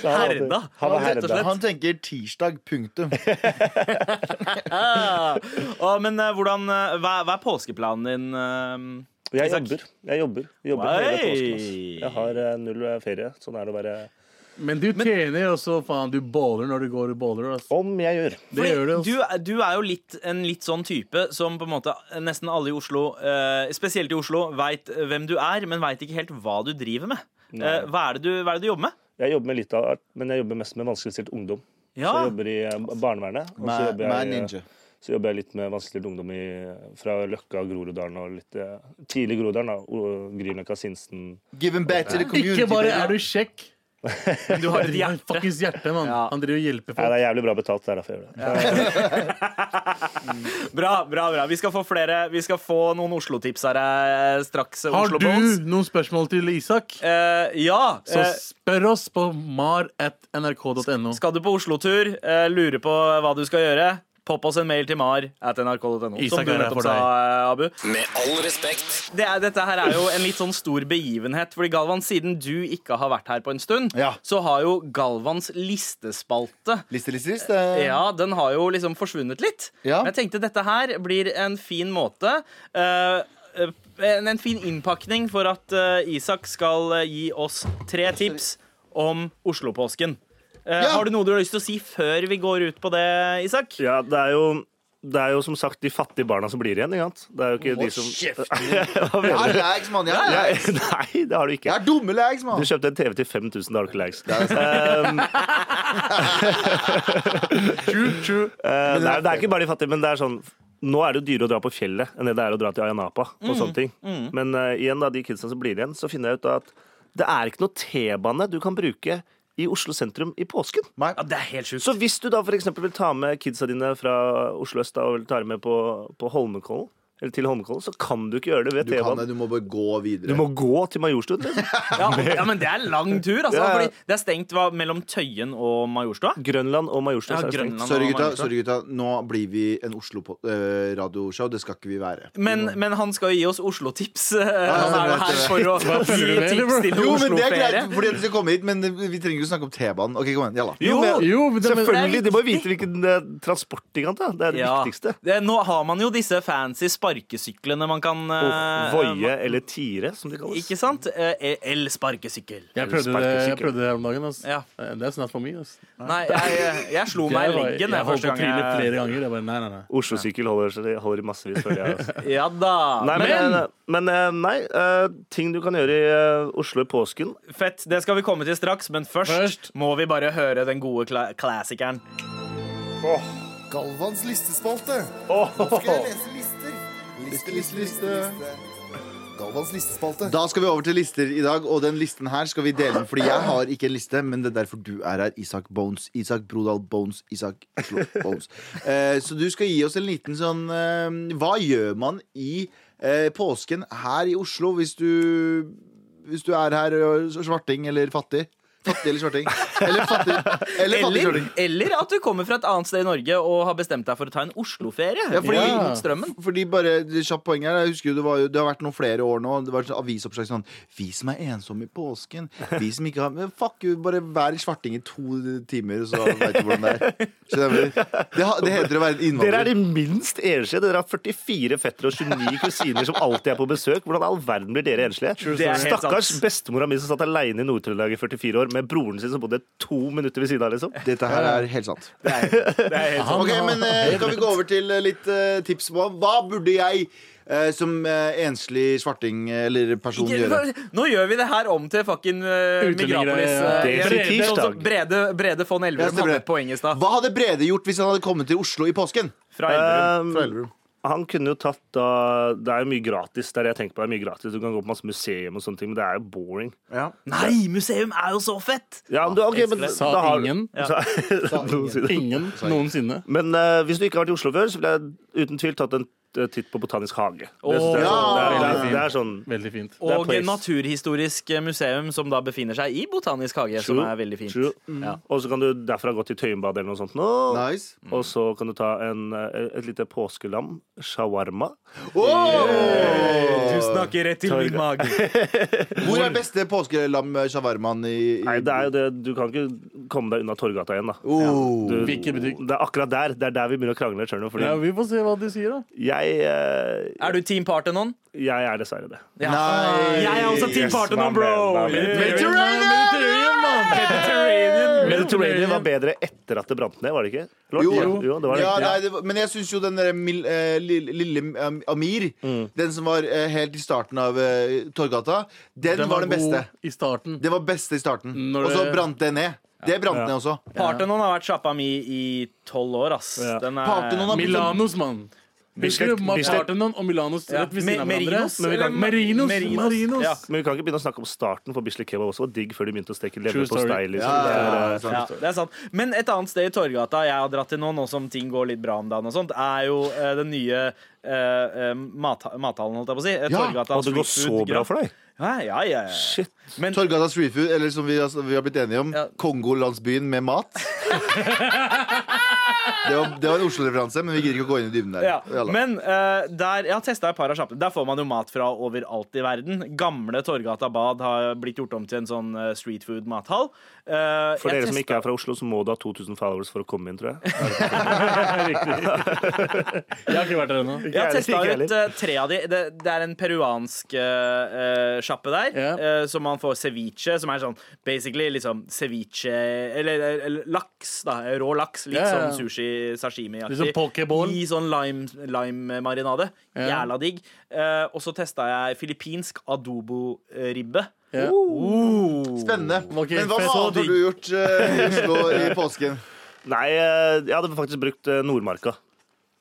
Så han var-
Herda.
Han var
Rett og slett.
herda.
Han tenker tirsdag, punktum.
Å, men eh, hvordan, eh, hva, hva er påskeplanen din? eh,
Jeg
Isak?
jobber. Jeg jobber, jobber
Oi.
hele påsken. ass. Jeg har eh, null eh, ferie. Sånn er det å være
Men du tjener også, faen. Du baller når du går og baller. ass.
Om jeg gjør.
Det
Fordi
gjør du.
du,
ass.
er- du er jo litt, en litt sånn type som på en måte nesten alle i Oslo, eh, spesielt i Oslo, veit hvem du er, men veit ikke helt hva du driver med. Eh, hva, er det du, hva er det du jobber med?
Jeg jobber med litt av art, men jeg jobber mest med vanskeligstilt ungdom. Så
Ja,
jeg jobber i eh, barnevernet. Og så
Man-
jobber,
man
jeg,
ninja.
så jobber jeg litt med vanskeligstilt ungdom i, fra Løkka, Groruddalen og litt eh, tidlig Groruddalen. da. O- Grünerløkka, Sinsen.
Give him back to the community.
Ikke bare er du kjekk,
men du har et
du har
hjerte.
fuckings hjerte, mann.
Ja.
Han driver og hjelper
Nei,
folk.
det er jævlig bra betalt, det er derfor jeg gjør det.
Bra, bra, bra. Vi skal få flere Vi skal få noen Oslo-tips her eh, straks. eh,
Har
Oslo
du
Bones.
noen spørsmål til Isak,
Eh, ja.
så
eh,
spør oss på mar at nrk.no
skal du på Oslo-tur, eh, lure på hva du skal gjøre, popp oss en mail til mar at nrk.no. Som
Isak
du
er her
nettopp
for
sa, eh, Abu.
Med all respekt.
det er, dette her er jo en litt sånn stor begivenhet. Fordi Galvan, siden du ikke har vært her på en stund,
Ja.
så har jo Galvans listespalte
Liste, liste, liste.
ja, den har jo liksom forsvunnet litt.
Ja.
Men jeg tenkte dette her blir en fin måte. eh, eh, en, en fin innpakning for at eh, Isak skal eh, gi oss tre tips om Oslo-påsken. Eh,
Ja.
Har du noe du har lyst til å si før vi går ut på det, Isak?
Ja, det er jo... Det er jo som sagt de fattige barna som blir igjen. ikke sant? Det er jo ikke
Hold
de som
kjeft. Jeg har lags, mann. Jeg har
Nei,
lags.
Nei, det har du
Jeg
ikke.
har dumme lags,
Du
mann.
kjøpte en TV til 5000, da har du ikke likes.
True, true.
Eh, nei, det er ikke bare de fattige, men det er sånn nå er det jo dyrere å dra på fjellet enn det det er å dra til Ayanapa. og sånne ting. Men eh, igjen da, de kidsa som blir igjen, så finner jeg ut at det er ikke noe T-bane du kan bruke i Oslo sentrum i påsken.
Nei.
Ja, det er helt sjukt.
Så hvis du da for eksempel vil ta med kidsa dine fra Oslo øst da, og vil ta dem med på, på Holmenkollen, eller til Holmenkollen, så kan du ikke gjøre det ved
Du kan det,
T-banen.
du må bare gå videre.
Du må gå til Majorstuen. liksom.
Ja, ja, men det er lang tur, altså.
Ja, ja.
Fordi det er stengt hva, mellom Tøyen og Majorstua.
Grønland og Majorstuen
Ja,
er stengt.
Grønland og
Sorry gutta,
Majorstua.
sorry, gutta. Nå blir vi en Oslo-radioshow. Det skal ikke vi være.
Men, men han skal jo gi oss Oslo-tips. eh, Han er
men
jo her
vet
for å
følger
gi
du med, eller,
tips
bro?
Jo, men
til
det er
Oslo-ferie.
greit, fordi at vi skal komme hit, men vi trenger ikke å snakke om T-banen. Ok, kom igjen, jalla.
Jo,
Jo, men det, men,
Selvfølgelig, De må vite hvilken eh, transport de kan ta. Det er det
ja.
viktigste.
Det- Nå har man jo disse fancy sparkesyklene man kan eh,
Og Voie eller Tire, som de kalles.
Ikke sant? Eh, El-sparkesykkel.
jeg prøvde det, jeg prøvde det her om dagen. Ass. Eh,
Ja.
Det er snart for mye. Ass.
Nei, jeg, jeg slo meg i
var-
leggen
jeg
jeg,
holdt
første
på å
gang
trille
jeg
flere ganger. Jeg bare, nei, nei, nei.
Oslo-sykkel holder, seg- holder i massevis, føler jeg. Altså.
Ja da.
Nei,
men
men, men eh, nei, eh, ting du kan gjøre i eh, Oslo i påsken
fett, det skal vi komme til straks. Men først,
Først.
må vi bare høre den gode kla klassikeren.
Galvans listespalte. Nå skal jeg lese lister. Liste, liste, liste. liste. Galvans listespalte.
Da skal vi over til lister i dag, og den listen her skal vi dele den. Fordi jeg har ikke en liste, men det er derfor du er her, Isak Bones. Isak Brodal Bones. Isak Oslo Bones. Eh, så du skal gi oss en liten sånn eh, Hva gjør man i eh, påsken her i Oslo hvis du hvis du er her og er svarting eller fattig? Fattig eller svarting. Eller fattig eller fattig
Eller,
svarting.
eller at du kommer fra et annet sted i Norge og har bestemt deg for å ta en Oslo-ferie.
Ja, fordi-
uten strømmen.
Fordi bare, kjapt poeng her Jeg husker jo det, var, jo- det har vært noen flere år nå Det var et avisoppslag sånn Vi som er ensomme i påsken Vi som ikke har men Fuck you, bare vær i svarting i to timer Så vet du hvordan det er Skjønner du? Det, ha- det heter å være en
Dere
innvandrer
er de minst enslige. Dere har 44 fettere og 29 kusiner som alltid er på besøk. Hvordan i all verden blir dere enslige?
Det er helt
Stakkars
sant.
bestemora mi som satt aleine i Nord-Trøndelag i 44 år med broren sin som bodde to minutter ved siden av. liksom
Dette her er helt sant
Han
Ok,
har-
men eh, kan vi gå over til eh, litt eh, tips på Hva burde jeg eh, som eh, enslig svarting eh, Eller person gjøre?
Nå gjør vi det her om til fucking uh,
Utlendinger,
Migrapolis.
ja.
eh,
Det er
Brede-
tirsdag.
Brede, Brede von
Ja,
Elverum
stemmer
hadde
det.
et poeng i stad.
Hva hadde Brede gjort hvis han hadde kommet til Oslo i påsken?
Fra Elverum.
Fra Elverum.
Um, han kunne jo tatt da Det er jo mye gratis der jeg tenker på. det er mye gratis Du kan gå på masse museum og sånne ting, men det er jo boring.
Eh,
Nei, museum er jo så fett!
Ja, men du, ok, men
Sa
da har-
ingen.
Sa- Noensinne.
Ingen noensinne.
Men eh, hvis du ikke har vært i Oslo før, så ville jeg uten tvil tatt en eh, titt på Botanisk hage. Det, synes jeg er sånn-
ja.
det, er, det, er, det er sånn
Veldig fint.
er
Og
place.
Naturhistorisk eh, museum, som da befinner seg i Botanisk hage, som
True,
er veldig fint. Mm.
true.
Ja.
Og så kan du derfra gå til Tøyenbadet eller noe sånt. Nå.
Nice
Og så kan du ta en, eh, et lite påskelam, shawarma.
Du snakker rett til min mage.
Hvor er beste påskelam shawarmaen i, i
Nei, det er jo det, du kan ikke komme deg unna Torgata igjen, da.
Oh.
Du,
Hvilken butikk?
Det er akkurat der det er der vi begynner å krangle. skjønner du, Fordi
Ja, vi får se hva de sier, da.
jeg, eh,
Er du Team Parthenon?
jeg er dessverre det.
Ja.
Nei.
Jeg er også Team
Yes,
Parthenon,
hva
bro!
med- hva med-
Mediterranean!
Mediterranean var bedre etter at det brant ned, var det ikke? Eller var det-
Jo.
jo det var det.
Ja, nei, det var, men jeg syns jo den der mil, eh, lille, lille eh, Amir,
Mm.
den som var eh, helt i starten av eh, Torgata, den, var, den beste.
god i starten.
Den var beste i starten.
Når
Og så
det-
brant det ned. Det brant ned også.
Parthenon har vært sjappa mi i tolv år, ass.
Ja.
Den er
Parthenon har
Milanos, mann. Husker
Bislett-
du Ma-
Bislett-
Parthenon og Milanos
Ja.
rett ved siden av
Me-
hverandre?
Merinos,
Men vi kan-
eller-
Merinos!
Merinos.
Merinos.
Ja.
Men vi kan ikke begynne å snakke om starten, for Bislett Kebab også var digg før de begynte å steke leverpostei.
story.
Liksom.
Ja,
Det er, eh,
Ja, det er sant. Men et annet sted i Torgata jeg har dratt til nå, nå som ting går litt bra om dagen, og sånt, er jo eh, den nye eh, eh, matha- mathallen, holdt jeg på å si. Eh,
Ja,
Torgata
Å, det går så bra for deg!
Ja, ja, ja. ja.
Shit.
Men
Torgata Street Food, eller som vi har, vi har blitt enige om,
Ja.
Kongolandsbyen med mat. det, var, det var en Oslo-referanse, men vi gidder ikke å gå inn i dybden der.
ja.
Jalla.
Men eh, der, jeg har testa et par av sjappene. Der får man jo mat fra overalt i verden. Gamle Torgata bad har blitt gjort om til en sånn eh, street food-mathall. Eh,
For
jeg
dere som
testet-
ikke er fra Oslo, så må du ha 2000 followers for å komme inn, tror jeg.
Jeg har ikke vært der ennå.
Jeg har
heller,
testa
ikke
ut eh, tre av de. Det, det er en peruansk eh, eh, sjappe der,
Ja.
eh, som man får ceviche, som er sånn basically liksom ceviche Eller, eller laks, da. Rå laks. Litt
Ja, ja.
sånn sushi-sashimi-aktig.
Litt sånn pokeball.
I sånn lime- lime-marinade.
Ja.
Jævla digg. Eh, og så testa jeg filippinsk adobo-ribbe. Uh.
Ja.
Oh.
Spennende.
Mm.
Ok,
men hva
fett.
annet
Så
har
digg.
du gjort eh, i Oslo i påsken?
Nei, eh, jeg hadde faktisk brukt eh, Nordmarka.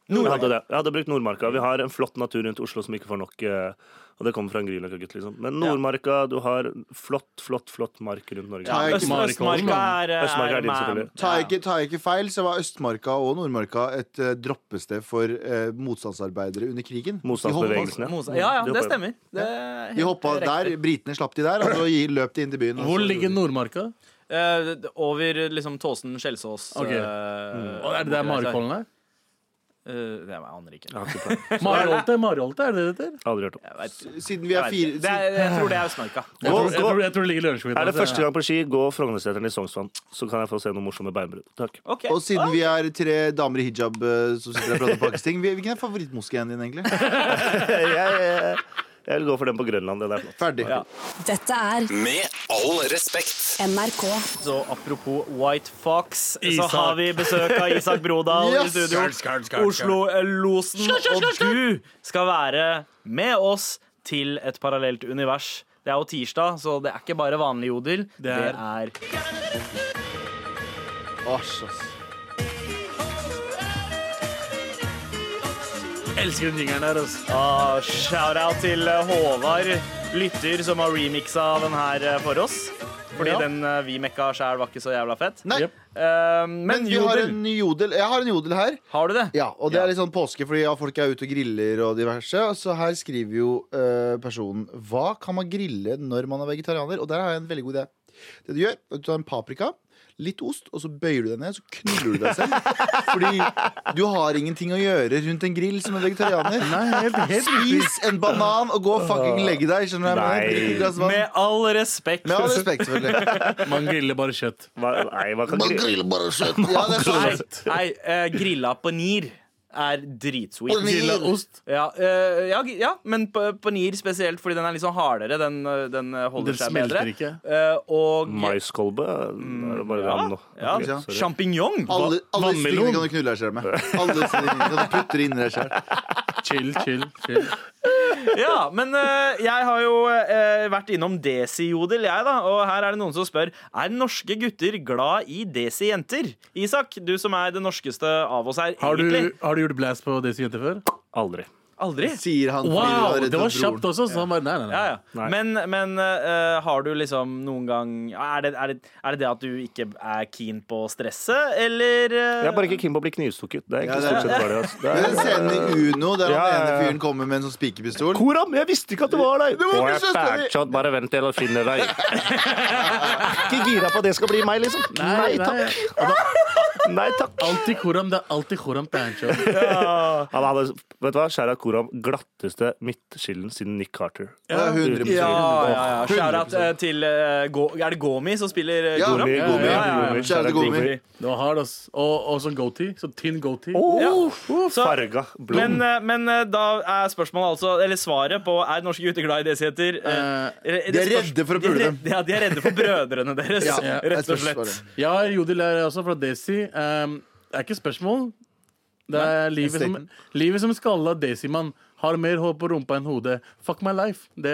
Jeg hadde, det. jeg hadde brukt Nordmarka. Vi har en flott natur rundt Oslo som ikke får nok. eh, Og det kommer fra en Grünerløkka-gutt, liksom. Men Nordmarka, du har flott, flott, flott mark rundt Norge.
Ja,
Øst, Østmarka er, eh,
Østmarka er din,
man.
selvfølgelig.
Tar jeg, ikke, tar jeg ikke feil, så var Østmarka og Nordmarka et eh, droppested for eh, motstandsarbeidere under krigen. De
Motstandsbevegelsen, ja.
Mosa- Ja, ja,
De
det
hopper-
stemmer. Det er
hoppa-
helt
De hoppa der,
riktig.
Britene slapp de der, og så gi- løp de inn til byen. og
Hvor
så-
ligger Nordmarka?
Eh, over liksom Tåsen, Skjelsås
Ok. Mm.
eh,
Å, Er det der Marikollen er?
Eh, det jeg aner ikke.
Jeg har ikke peiling.
Mariholte, Mariholte, er det det heter?
Aldri hørt om.
Jeg vet,
Siden vi
jeg
er
vet
fire
ikke. det er, jeg tror det er Østmarka.
Jeg tror, jeg
gå.
tror, jeg tror det ligger i Lørenskog.
Er det første gang på ski, gå Frognerseteren i Sognsvann. Så kan jeg få se noen morsomme beinbrudd. Takk.
Ok.
Og siden vi er tre damer i hijab eh, som sitter og prater pakisting, hvilken er favorittmoskeen din, egentlig?
Jeg, jeg, jeg vil gå for den på Grønland. Den er flott.
Ferdig.
Ja.
Dette er
Med all respekt.
NRK.
Så apropos White Fox,
Isak.
så har vi besøk av Isak Brodal
Yes!
i studio. Oslo-losen. Og du skal være med oss til et parallelt univers. Det er jo tirsdag, så det er ikke bare vanlig jodel. Det
er-
er
Asj, ass.
Elsker den jingeren der, altså.
Ah, Shout-out til eh, Håvard, lytter, som har remixa den her eh, for oss. Fordi
Ja.
den eh, vi mekka sjæl, var ikke så jævla fett.
Nei,
Jep.
Eh, men
men vi har
jodel,
en ny jodel. Jeg har en jodel her.
har du det?
Ja, og det er litt sånn påske, fordi ja, folk er ute og griller og diverse. Så her skriver jo eh, personen Hva kan man grille når man er vegetarianer? Og der har jeg en veldig god idé. Det du gjør, er at du tar en paprika, litt ost, og så bøyer du deg ned, så knuller du deg selv. Fordi du har ingenting å gjøre rundt en grill som en vegetarianer. Spis en banan og gå og fucking legge deg. Skjønner du? hva jeg mener?
Nei.
Drikk et glass vann.
Med all respekt.
Med all respekt, selvfølgelig.
Man griller bare kjøtt.
Hva, nei, hva kan gri-
Ja, det er så
Nei, nei eh, grilla paneer er dritsweet.
Grilla ost.
Ja, eh, ja, g- ja, men pa- paneer spesielt fordi den er litt sånn hardere. Den, eh, den eh, holder
Den
seg
smelter
bedre.
ikke.
Eh, og
Maiskolbe? Da er det bare ram nå.
ja,
Ok, sorry.
sjampinjong.
Alle, alle disse tingene
Vannmelon.
kan du knulle deg selv med. Alle disse tingene kan du putte inn i deg selv.
Chill, chill, chill.
Ja, men eh, jeg har jo eh, vært innom Desi-jodel, jeg, da. Og her er det noen som spør Er norske gutter glad i Desi-jenter. Isak, du som er det norskeste av oss her,
Har du,
egentlig.
har du gjort blast på Daisy Jente før?
Aldri.
Aldri.
Sier han. fordi du
Wow,
er redd
det var
for broren.
kjapt også. Så han bare, nei, nei, nei.
Ja, ja.
Nei.
Men, men eh, har du liksom noen gang er det, er, det, er det det at du ikke er keen på stresset, eller eh,
Jeg er bare ikke keen på å bli knivstukket. Det er
Ja, det
egentlig
er-
stort sett bare det. Altså.
Det er
Det er,
scenen i Uno der
Ja,
han
ja,
ene
ja.
fyren kommer med en sånn spikerpistol.
Koram, jeg visste ikke at det var deg!
Det var
Og
min
jeg er
søster, vi-
fælt, bare vent til jeg finner deg. Ikke gira på at det skal bli meg, liksom. Nei takk. Nei takk.
Alltid koram. Det er alltid koram Tancho.
Han hadde, vet du hva, Skjæra Koram, glatteste midtskillen siden Nick Carter.
Ja, 100%.
Ja, ja, ja.
100%.
Shout-out eh, til eh, Go, Er det Gomi som spiller eh,
Ja,
Goram?
Gomi, Gomi,
Ja, ja,
Gomi.
ja.
Kjære Gomi.
Det var hard, ass. Og, og sånn goatee. Så tynn goatee.
Oh,
Så-
farga blod.
Men, eh, men eh, da er spørsmålet altså Eller svaret på er norske gutter glad i desiheter?
Eh,
de er redde for å pule dem.
Ja, de er redde for brødrene deres,
Ja, jeg
rett
tror
og slett.
svaret.
Ja, Jodel er også fra Desi. Um, det er ikke spørsmål. Det er livet som,
statement.
livet som skalla Desi-mann. Har mer hår på rumpa enn hodet. Fuck my life. Det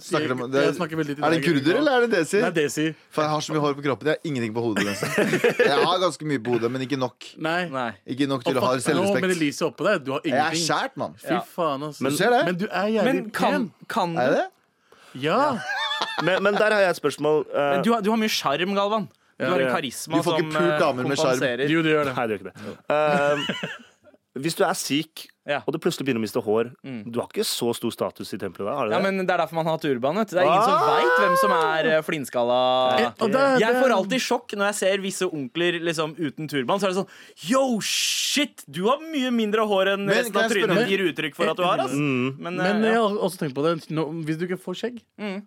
sier-
Snakker de om-
jeg snakker veldig
det,
til
er det
deg.
kurder eller er det desi?
Det er Desi.
For jeg har så mye hår på kroppen. Jeg har ingenting på hodet. nesten. Jeg har ganske mye på hodet, men ikke nok.
Nei.
Nei.
Ikke nok
Og
til å ha
fuck, Nå med det
selvrespekt.
lyset oppå deg, du har
Jeg er
ingenting.
skjært, mann.
Fy faen, ass.
Du ser det?
Men du er jævlig
Men
pen.
kan, kan
Er jeg
du?
det?
Ja.
Men, men der har jeg et spørsmål. eh,
Men Du har, du har mye sjarm, Galvan. Du har en
ja.
karisma
Du får ikke
som
pult
eh,
damer med sjarm.
kompenserer.
Jo, du gjør det.
Nei, det gjør ikke det. Eh, hvis du er sikh,
Ja. Mm.
og du plutselig begynner å miste hår Du har ikke så stor status i tempelet da? har du
Ja,
det?
men Det er derfor man har hatt turban. vet du. Det er ingen som veit hvem som er eh, flintskalla.
Eh, og det-
Jeg
det-
får alltid sjokk når jeg ser visse onkler liksom, uten turban. Så er det sånn Yo, shit! Du har mye mindre hår enn
Men
resten
kan
av
jeg spørre
trynet
om-
gir uttrykk for at du har. ass. Men, eh,
Men jeg
ja.
har også tenkt på det. Nå, hvis du ikke får skjegg,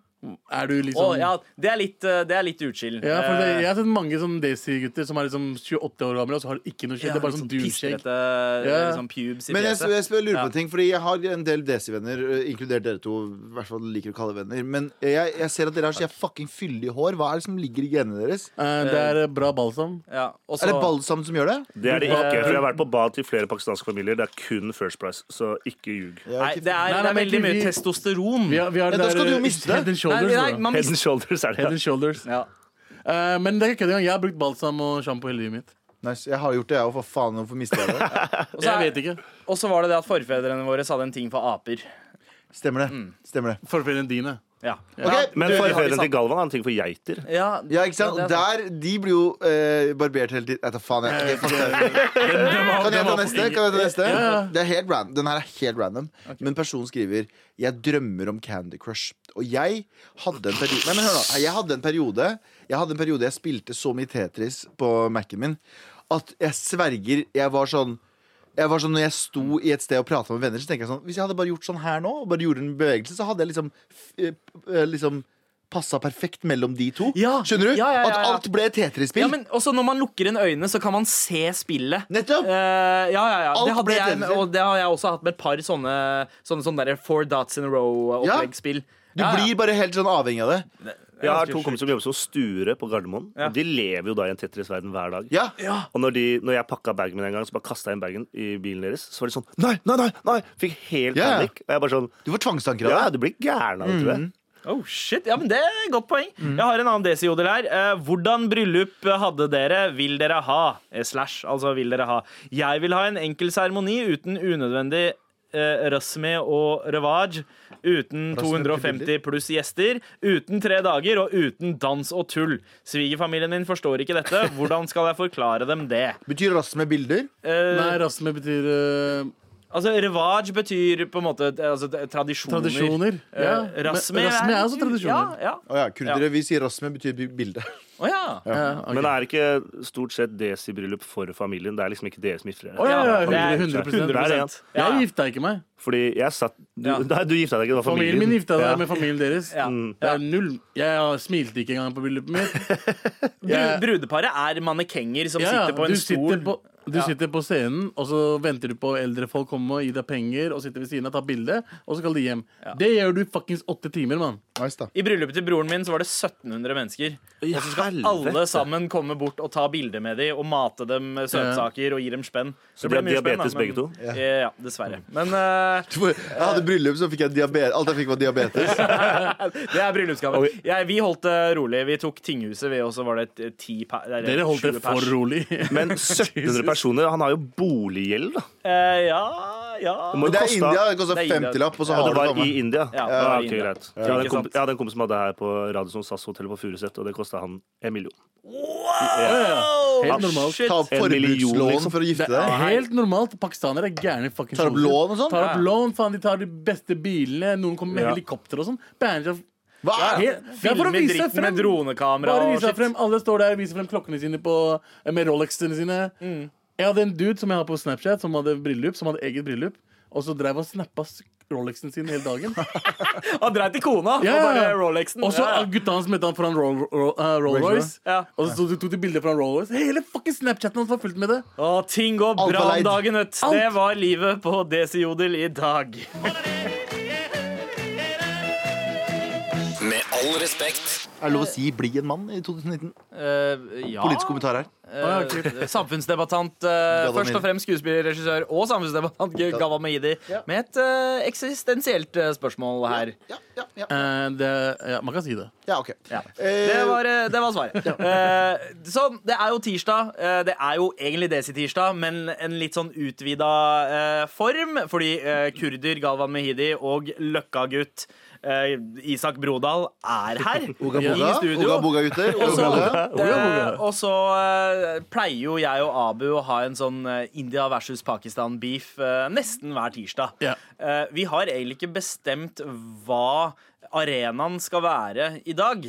er du liksom
Å, ja, det er litt, eh, det er litt utskill.
Ja, for det,
Eh,
Jeg har sett mange sånn Daisy-gutter som er liksom 28 år gamle og så har de ikke noe
ja,
skjegg. det er bare
litt
sånn
pistrete,
dunskjegg.
eh,
Ja.
Sånn pubes i
Men jeg,
fjeset.
jeg, jeg lurer på en ting, fordi jeg har en del desi-venner, eh, inkludert dere to. I hvert fall liker å kalle det venner Men jeg, jeg ser at dere har så jævla fucking fyldig hår. Hva er det som ligger i genene deres?
Eh, Det er bra balsam.
Ja, og så-
Er det balsam som gjør det?
Det er det ikke. For jeg har vært på bad til flere pakistanske familier. Det er kun First Price, så ikke ljug.
Jeg har
Nei,
ikke-
det er,
Nei,
det
nei,
er
men
veldig mye
vi-
testosteron.
Vi har, vi har
Ja, da
det
skal
der,
du jo miste det.
Head and
Nei,
shoulders.
nei,
da.
man
Head and
mister
shoulders er
Head
det.
and shoulders.
ja.
Eh, men det er ikke det engang. Jeg har brukt balsam og sjampo hele livet mitt.
Nice. Jeg har gjort det, jeg òg. For faen, hvorfor mister jeg det?
Og så
Jeg
er-
vet ikke.
Og så var det det at forfedrene våre sa den ting for aper.
Stemmer det. Stemmer det.
Forfedrene dine.
Ja,
Ok,
Men
du- har de
forfedrene
samme-
til Galvan er en ting for geiter.
ja,
Ja, ikke sant?
Ja,
Og
det er
der, de blir jo eh, barbert hele tiden. Nei, ta faen, jeg. ok, fuck det. Kan jeg ta neste? Kan jeg ta neste? Det er helt random. Den her er helt random. Men personen skriver Jeg drømmer om Candy Crush. Og jeg hadde en periode Nei, men hør nå. Jeg hadde en periode Jeg hadde en periode jeg spilte så mye Tetris på Mac-en min at jeg sverger Jeg var sånn jeg var sånn, når jeg sto i et sted og prata med venner, Så tenkte jeg sånn Hvis jeg hadde bare gjort sånn her nå, og bare gjorde en bevegelse, så hadde jeg liksom, f- eh, eh, liksom passa perfekt mellom de to.
Ja.
Skjønner du?
Ja, ja, ja,
At
ja.
alt ble et Tetris-spill.
ja, men også når man lukker inn øynene, så kan man se spillet.
Nettopp.
Eh, ja, ja, ja.
Alt
Det hadde
ble
jeg,
tjenester.
og det har jeg også hatt med et par sånne, sånne, sånne der four dots in a row-oppleggsspill.
Du blir bare helt sånn avhengig av det.
Jeg har to kompiser som jobber som sture på Gardermoen.
Ja.
Og de lever jo da i en Tetris-verden hver dag.
Ja.
Og når, de, når jeg pakka bagen min en gang, så bare kasta jeg inn bagen i bilen deres. Så var de sånn Nei, nei, nei! nei Fikk helt
Ja, ja.
panikk. Og jeg bare sånn
Du får tvangstanker av
Ja,
det.
du blir gæren av det, tror jeg.
Oh shit, ja, men Det er et godt poeng.
Mm.
Jeg har en annen desiodel her. Eh, hvordan bryllup hadde dere? Vil dere ha? Eh, slash, altså vil dere ha. Jeg vil ha en enkel seremoni uten unødvendig eh, rasme og revaj. Uten
Rasme betyr
250 pluss gjester. Uten tre dager og uten dans og tull. Svigerfamilien min forstår ikke dette. Hvordan skal jeg forklare dem det?
Betyr rass med bilder?
Eh,
Nei, rasme betyr eh,
Altså, Revaj betyr på en måte eh, altså, t- tradisjoner.
Tradisjoner.
Eh,
Men
rasme,
rasme er også tradisjoner.
Ja, ja.
Å ja, kurdere, vi sier rasme betyr bi- bilde.
Å ja.
Ja. ok.
Men det er ikke stort sett deres i bryllup for familien. Det er liksom ikke deres mifre.
Å, ja, ja,
det er
100%,
100%. Ja,
Jeg gifta ikke meg.
Fordi jeg satt du,
Ja.
Nei, du gifta deg ikke, det var
Familien
familien.
min gifta
Ja.
seg med familien deres.
Ja.
Det er null. Jeg smilte ikke engang på bryllupet mitt.
Bru- Brudeparet er mannekenger som
Eh, Ja, ja,
sitter på
du
en stol.
sitter på, du sitter på scenen, og så venter du på eldre folk komme og gi deg penger, og sitter ved siden av, tar bilde, og så skal de hjem. Det gjør du fuckings åtte timer, mann.
Nice, da.
I bryllupet til broren min så var det 1700 mennesker.
I
Og så skal
helvete.
alle sammen komme bort og ta bilder med dem og mate dem med søtsaker og gi dem spenn.
Så
Det
de
ble
har
mye spenn, da,
diabetes begge to?
Ja, ja dessverre. Men eh,
Jeg hadde bryllup, så fikk jeg diabetes. Alt jeg fikk, var diabetes.
det er bryllupsgave. Jeg- vi holdt det rolig. Vi tok Tinghuset, vi, og så var det et ti per... eller
Dere holdt
sju
dere
pers.
for rolig.
Men 1700 personer. Han har jo boliggjeld, da.
Eh, ja, ja.
Det må jo
Det er
koste-
India. Det koster
Det er India.
50-lapp, og så
Ja,
har du
det var
faen
i
meg.
India.
Ja,
Ja,
det var i
ok,
India.
greit. Jeg hadde en
Ikke
komp-
sant?
jeg hadde en kompis som hadde det her på Radisson SAS-hotellet på Furuset, og det kosta han en million.
Wow!
Helt normalt.
Shit.
Ta opp
En million,
forbrukslån
liksom.
for å gifte
Det er
deg.
helt normalt. Pakistanere er gærne. fuckings
Tar opp
hoder.
lån og sånn?
Tar opp
Ja.
lån, faen, De tar de beste bilene. Noen kommer med
Ja.
helikopter og sånn. Banner seg-
Hva er
Helt- Det er for
Filmer
å vise
dritten med
frem.
dronekamera
Bare
og
vis deg
shit.
frem. Alle står der og viser frem klokkene sine på, med Rolexene sine. Jeg hadde en dude som jeg har på Snapchat, som hadde bryllup, som hadde eget bryllup. Og så drev han og snappa s- Rolexen sin hele dagen.
Han dreit i kona og
Ja, ja, ja.
bare Rolexen.
Og så
Ja, ja.
gutta hans møtte han foran Roll, Roll, eh, Rolls-Royce.
Ja.
Og så tok de bilder fra Rolls-Royce. Hele fucking Snapchaten hans var fullt med det.
Å, ting går
Alt var
bra om
leid.
dagen, vet du.
Alt.
Det var livet på Desiodel i dag.
Med all respekt.
Er det lov å si 'bli en mann' i 2019?
Eh, ja.
Politisk kommentar her.
ja, ok.
Eh, samfunnsdebattant, eh,
Gavan
først
Mehidi.
og fremst skuespiller, regissør og samfunnsdebattant G- Gavan Mehidi, med et eh, eksistensielt eh, spørsmål her.
Ja, ja, ja.
Eh, det ja, man kan si det.
ja ok.
Ja.
Eh,
Det var, eh, det var svaret. Eh, sånn, det er jo tirsdag. Eh, det er jo egentlig Desi-tirsdag, men en litt sånn utvida eh, form. Fordi eh, kurder Galvan Mehidi og Løkka-gutt eh, Isak Brodal er her
Oga
i
boga,
studio.
oga boga gutter.
Og så,
Oga boga.
eh, og så eh, pleier jo jeg og Abu å ha en sånn eh, India versus Pakistan-beef eh, nesten hver tirsdag.
Ja.
Eh, vi har egentlig ikke bestemt hva arenaen skal være i dag.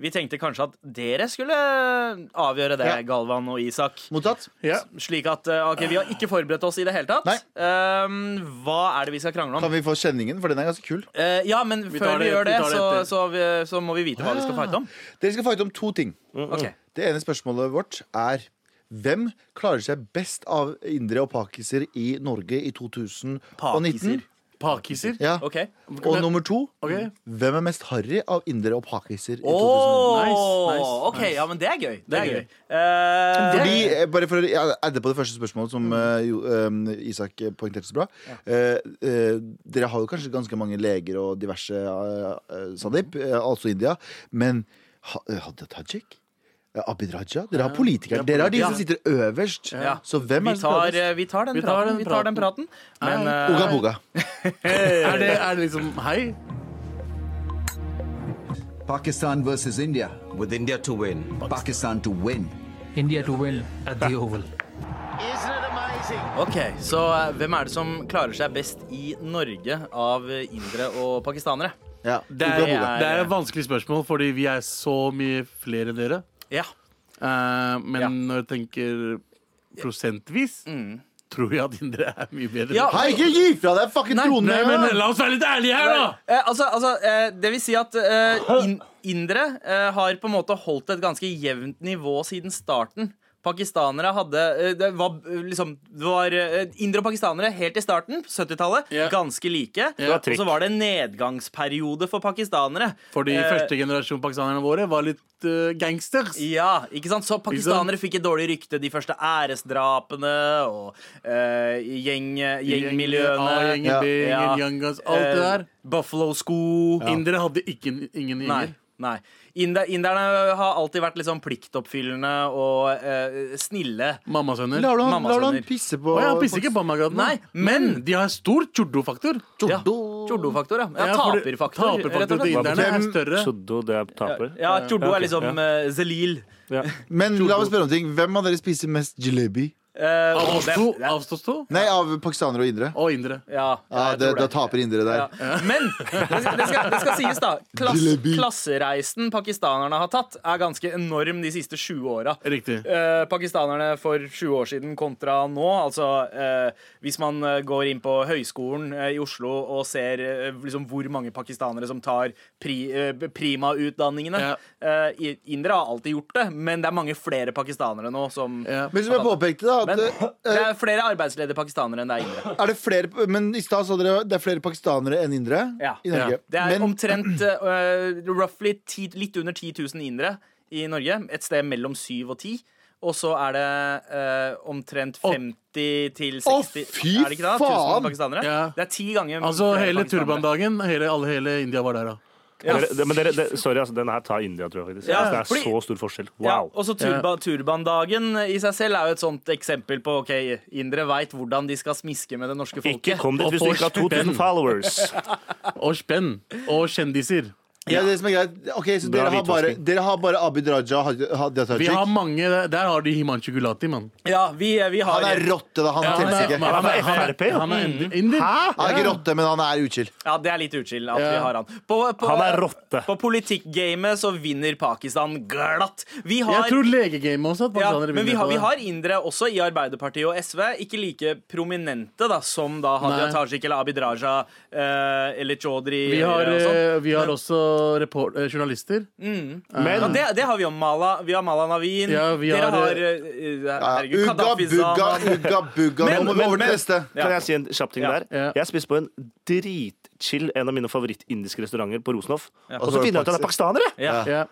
Vi tenkte kanskje at dere skulle eh, avgjøre det,
Ja.
Galvan og Isak.
Mottatt.
Ja.
Slik at eh, ok, Vi har ikke forberedt oss i det hele tatt.
Nei.
Eh, hva er det vi skal krangle om?
Kan vi få kjenningen, for den er ganske kul.
Eh, ja, men
tar
før vi
det-
gjør
vi
det,
tar det
så, så, vi, så må vi vite hva vi skal fighte om.
Dere skal fighte om to ting.
Ok.
Det ene spørsmålet vårt er hvem klarer seg best av indere og pakiser i Norge i 2019?
Pakiser?
Pakiser.
Ja.
Ok.
Og nummer to
Ok.
hvem er mest harry av indere og pakiser i 2019?
Åh,
Nice, nice,
ok,
nice.
ja, men det er gøy. Det er
er
gøy.
gøy.
Eh,
Fordi, eh, bare for å ja, adde på det første spørsmålet
Mm.
som eh, jo, eh, Isak eh, poengterte så bra. Eh, eh, dere har jo kanskje ganske mange leger og diverse, eh, eh, Sandeep, eh, altså India. Men ha, eh, Hadia Tajik? Eh, Abid Raja? Dere har politikere. Dere har de som sitter øverst.
Ja.
eh, Så hvem
vi,
er det som
tar, eh,
klarer
vi tar den
Vi tar
praten.
den
vi tar den praten. Men
Ja,
Oga
eh,
boga.
Er, det, er det liksom Hei?
Pakistan versus India.
with India to win.
Pakistan to win.
India to win at the Oval.
ok, Så eh, hvem er det som klarer seg best i Norge av eh, indere og pakistanere?
Ja.
Det er,
Oga boga.
det er et vanskelig spørsmål, fordi vi er så mye flere enn dere.
Ja.
Eh, men
Ja. Mm.
når jeg tenker prosentvis, tror jeg at dere er mye bedre.
Ja,
Hei, ikke gi fra deg fucking
Nei,
tronen!
Nei,
her,
men
da!
La oss være litt ærlige her, da!
Eh, altså, altså eh, det vil si at eh, in indere eh, har på en måte holdt et ganske jevnt nivå siden starten. Pakistanere hadde eh, Det var eh, liksom det var, eh, Indere og pakistanere helt i starten, 70-tallet,
Ja.
ganske like.
Ja.
Og så var det en nedgangsperiode for pakistanere.
Fordi
Eh,
første generasjon pakistanerne våre var litt eh, gangsters.
Ja, ikke sant? Så pakistanere fikk et dårlig rykte. De første æresdrapene og eh, gjeng, gjengmiljøene.
A-gjengen,
Ja.
B-gjengen,
Ja.
Young Guns, alt det
Eh,
der.
Buffalo-sko.
Indere hadde ikke,
Nei.
ingen gjenger.
nei. Inder, inderne har alltid vært litt sånn pliktoppfyllende og eh, snille.
Mammasønner.
Lar du han,
Mamma
lar du han
sønner.
pisse på
Å, ja, han pisser ikke på meg akkurat nå.
Nei, men-
de har stor chordo-faktor.
Ja, Chordo-faktor, ja. ja
Ja, fordi-
Taperfaktor. rett og
Taperfaktor til
slett.
inderne er
Hvem-
større.
Shoddo, det er taper.
Ja, Chordo
Ja,
er
ok,
liksom
ja.
eh, Zelil.
Ja.
Men la meg spørre om ting. Hvem av dere spiser mest jalebi?
Eh,
Av oss
det-
to?
det-
Av oss to?
Nei, av pakistanere og indere.
Og indere.
Ja,
Ja, jeg
Ah, det,
tror
Da taper indere der.
Ja. Men det skal, det, skal, det skal sies, da. Klass,
Jalebi.
klassereisen pakistanerne har tatt, er ganske enorm de siste 20 åra.
Riktig.
Eh, pakistanerne for 20 år siden kontra nå. Altså, eh, hvis man eh, går inn på Høgskolen eh, i Oslo og ser eh, liksom hvor mange pakistanere som tar pri, eh, primautdanningene
Ja.
eh, i- Indere har alltid gjort det, men det er mange flere pakistanere nå som
Ja.
Men som jeg påpekte, da
Men
at, eh,
det er flere arbeidsledige pakistanere enn det er indere.
er det flere, Men i stad sa dere det er flere pakistanere enn indere
Ja.
i Norge.
Det er
Men
omtrent eh, roughly ti, litt under 10 000 indere i Norge. Et sted mellom 7 og 10. Og så er det eh, omtrent 50 til 60
fy
er det ikke da? 1000
faen!
pakistanere.
Ja.
Det er ti ganger
Altså
flere
hele
pakistanere.
turbandagen, hele, alle, hele India var der da.
Ja.
Dere- det- Men dere, det, sorry, altså, den her tar India, tror jeg. faktisk
Ja,
altså, Det er
fordi-
så stor forskjell.
Ja,
Wow.
og så turba, turbandagen i seg selv er jo et sånt eksempel på ok, indere veit hvordan de skal smiske med det norske folket.
Ikke kom dit
Og
hvis du ikke har
forskjell.
2000 followers.
Og spenn. Og kjendiser.
ja, det som er greit Ok, så
Bra
dere har, bare,
hvitvasking.
dere har bare Abid Raja og Hadia- Hadia
Vi har
Tajik.
mange Der har de Himanchu Gulati, mann.
Ja, vi, eh, vi har
Han er rotte, da. Han telles ikke.
Han er FRP, jo.
Han er inder.
Han er ikke rotte, men han er utskill.
Ja, det er litt utskill at vi
Ja.
har han. På, på,
Han er rotte.
På politikkgamet så vinner Pakistan glatt. Vi har
Jeg tror legegamet også at
ja,
pakistanere
men vi
vinner
har,
på
vi
det.
har indere også i Arbeiderpartiet og SV. Ikke like prominente da som da Hadia
Nei.
Tajik eller Abid Raja eh, eller Chaudhry.
Vi har,
eller noe sånt.
eh, vi har også report, eh, journalister.
ja, det, det har vi om Mala. Vi har Mala Navin.
Ja, vi
Dere
har,
har
eh,
eh, Herregud,
Ugga
Gaddafi
bugga
Zaman.
ugga bugga. Nå må vi over til neste.
Ja.
Kan jeg si en kjapp ting
Ja.
der?
Ja.
Jeg spiste på en dritchill en av mine favorittindiske restauranter på Rosenhoff. Og
Og så
så finner jeg ut at det er pakistanere!
Ja.
Ja.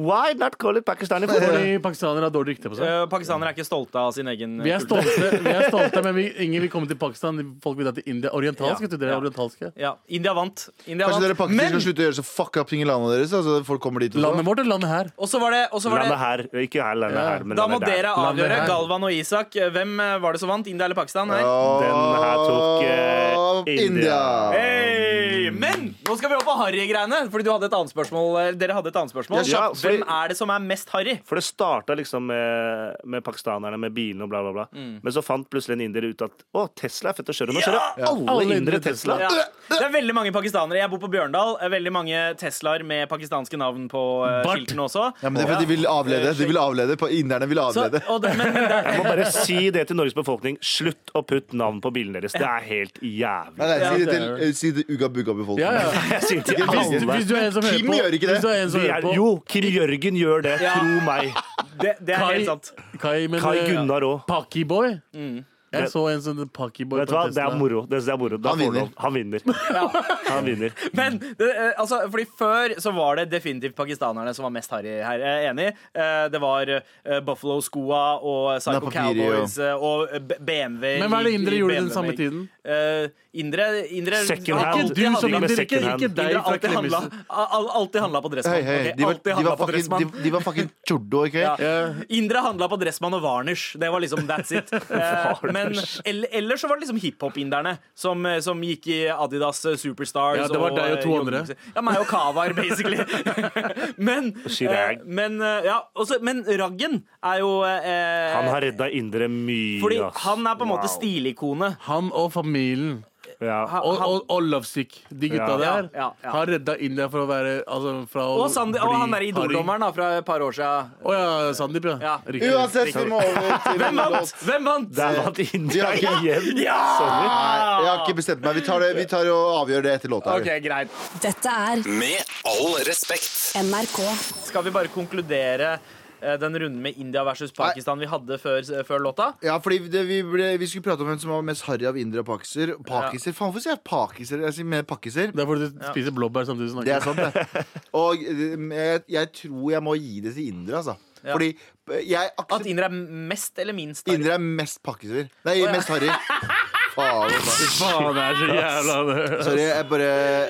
Why not call it Pakistani food?
Fordi pakistanere har dårlig rykte på seg.
Eh, Pakistanere er ikke stolte av sin egen
Vi er
kultur.
stolte, vi er stolte men vi, ingen vil komme til Pakistan. Folk vil dra til India. Orientalsk,
Ja.
vet du. Dere
Ja.
er orientalske.
Ja, India vant. India
Kanskje dere
vant.
pakistanere skal slutte å gjøre så fucka up ting i landet deres? Altså folk kommer dit
Landet
og
vårt eller landet her?
Og så var det, og så var det
Landet her, ikke her, landet
Ja.
her, men
Da må
landet der.
dere
Landet
avgjøre,
her.
Galvan og Isak, hvem eh, var det som vant? India eller Pakistan? Her?
Den her tok
Åh,
eh, India.
India.
Hey! Men nå skal vi opp på harry-greiene. Fordi du hadde et annet spørsmål eh, Dere hadde et annet spørsmål.
Ja, kjapt,
Hvem
fordi-
er det som er mest harry?
For det starta liksom med, med pakistanerne, med bilene og bla, bla, bla.
Mm.
Men så fant plutselig en indier ut at å, Tesla er fett å kjøre. Nå kjører alle,
Alle
indere
indere
Tesla.
Ja. Det er veldig mange pakistanere. Jeg bor på Bjørndal. Det er Veldig mange Teslaer med pakistanske navn på eh,
Bart.
skiltene også.
Ja, men det er fordi de vil avlede. De vil avlede. Pa- Inderne vil
Så,
avlede.
og det, men, men det,
Jeg må bare si det til Norges befolkning. Slutt å putte navn på bilene deres. Det er helt jævlig.
Nei, nei, si det
det
til
er-
eh, si det ugga bugga
Ja,
befolkningen.
ja.
Jeg sier til
Hvis,
alle.
hvis du er en som hører
Kim
på,
gjør ikke det.
Hvis du er en som
Vi
hører
er,
på
jo, Kim Jørgen gjør det.
Ja.
Tro meg.
det, det er helt sant.
Kai, Kai, men,
Kai
eh,
Gunnar òg.
Pakiboy. Jeg så en sånn Pakiboy
Vet du hva, det er moro. Det det er moro. Da
Han
får du
vinner.
lov. Han vinner. Han vinner.
Men det, eh, altså, fordi før så var det definitivt pakistanerne som var mest harry her. Jeg er enig. Eh, Det var eh, Buffalo Skoa og Psycho
Napapiri,
Cowboys eh, og eh, B- BMW.
Men hva er det
i-
indere
i
gjorde den
BMW?
samme tiden?
Eh, Indre, indre
Second
alt-
hand.
Ikke du
det
som
handler-
Med
indier, ikke,
second hand.
ikke deg
Indre
fra
alltid handla,
Klemmesen.
al- alltid handla på
Hei,
Dressmann.
hei.
ok?
De var,
Alltid
de
handla
var
på
fucking,
Dressmann.
de, de var fucking churdo, ikke?
Ja. Indre handla på Dressmann og Varnish. Det var liksom that's it. Eh, Men ell- ellers så var det liksom hiphop-inderne som, eh, som gikk i Adidas eh, Superstars.
Ja, det var deg og
eh,
to
Jon-
andre.
Ja, meg og Kavar, basically. men, eh,
Chirag.
men, eh, ja, også, men Raggen er jo eh,
Han har redda indre mye.
Fordi
ass.
han er på en måte
Wow.
stilikone.
Han og familien.
Ja.
Og, og, og Lovesick. De gutta
Ja.
der
Ja, ja, ja.
har redda India fra å være altså, fra å
Og, Sandi, og
bli
han der
harry.
idoldommeren da, fra et par år siden.
Å ja, Sandeep, ja.
Ja.
Riktig.
Uansett, vi må over til
Hvem vant? Hvem vant?
Der vant India
De har
igjen. Sorry.
Nei, jeg har ikke bestemt meg. Vi tar, det, vi tar og avgjør det etter låta.
OK, greit.
Dette er
Med all respekt.
NRK.
Skal vi bare konkludere eh, den runden med India versus Pakistan vi hadde før, eh, før låta?
Ja, fordi det, vi, ble, vi skulle prate om hvem som var mest harry av indere og pakiser. Pakiser? Faen, hvorfor sier jeg pakiser? Jeg sier mer pakiser.
Det er fordi du spiser blåbær samtidig som du
Det
snakker.
er sant, det. Og eh, jeg, jeg tror jeg må gi det til indere, altså.
Ja.
Fordi eh, jeg
At
aksepterer
indere er mest eller minst? harry?
Indere er mest pakkiser. Nei, mest harry. Faen. altså.
Faen, det er så jævla
Sorry, jeg bare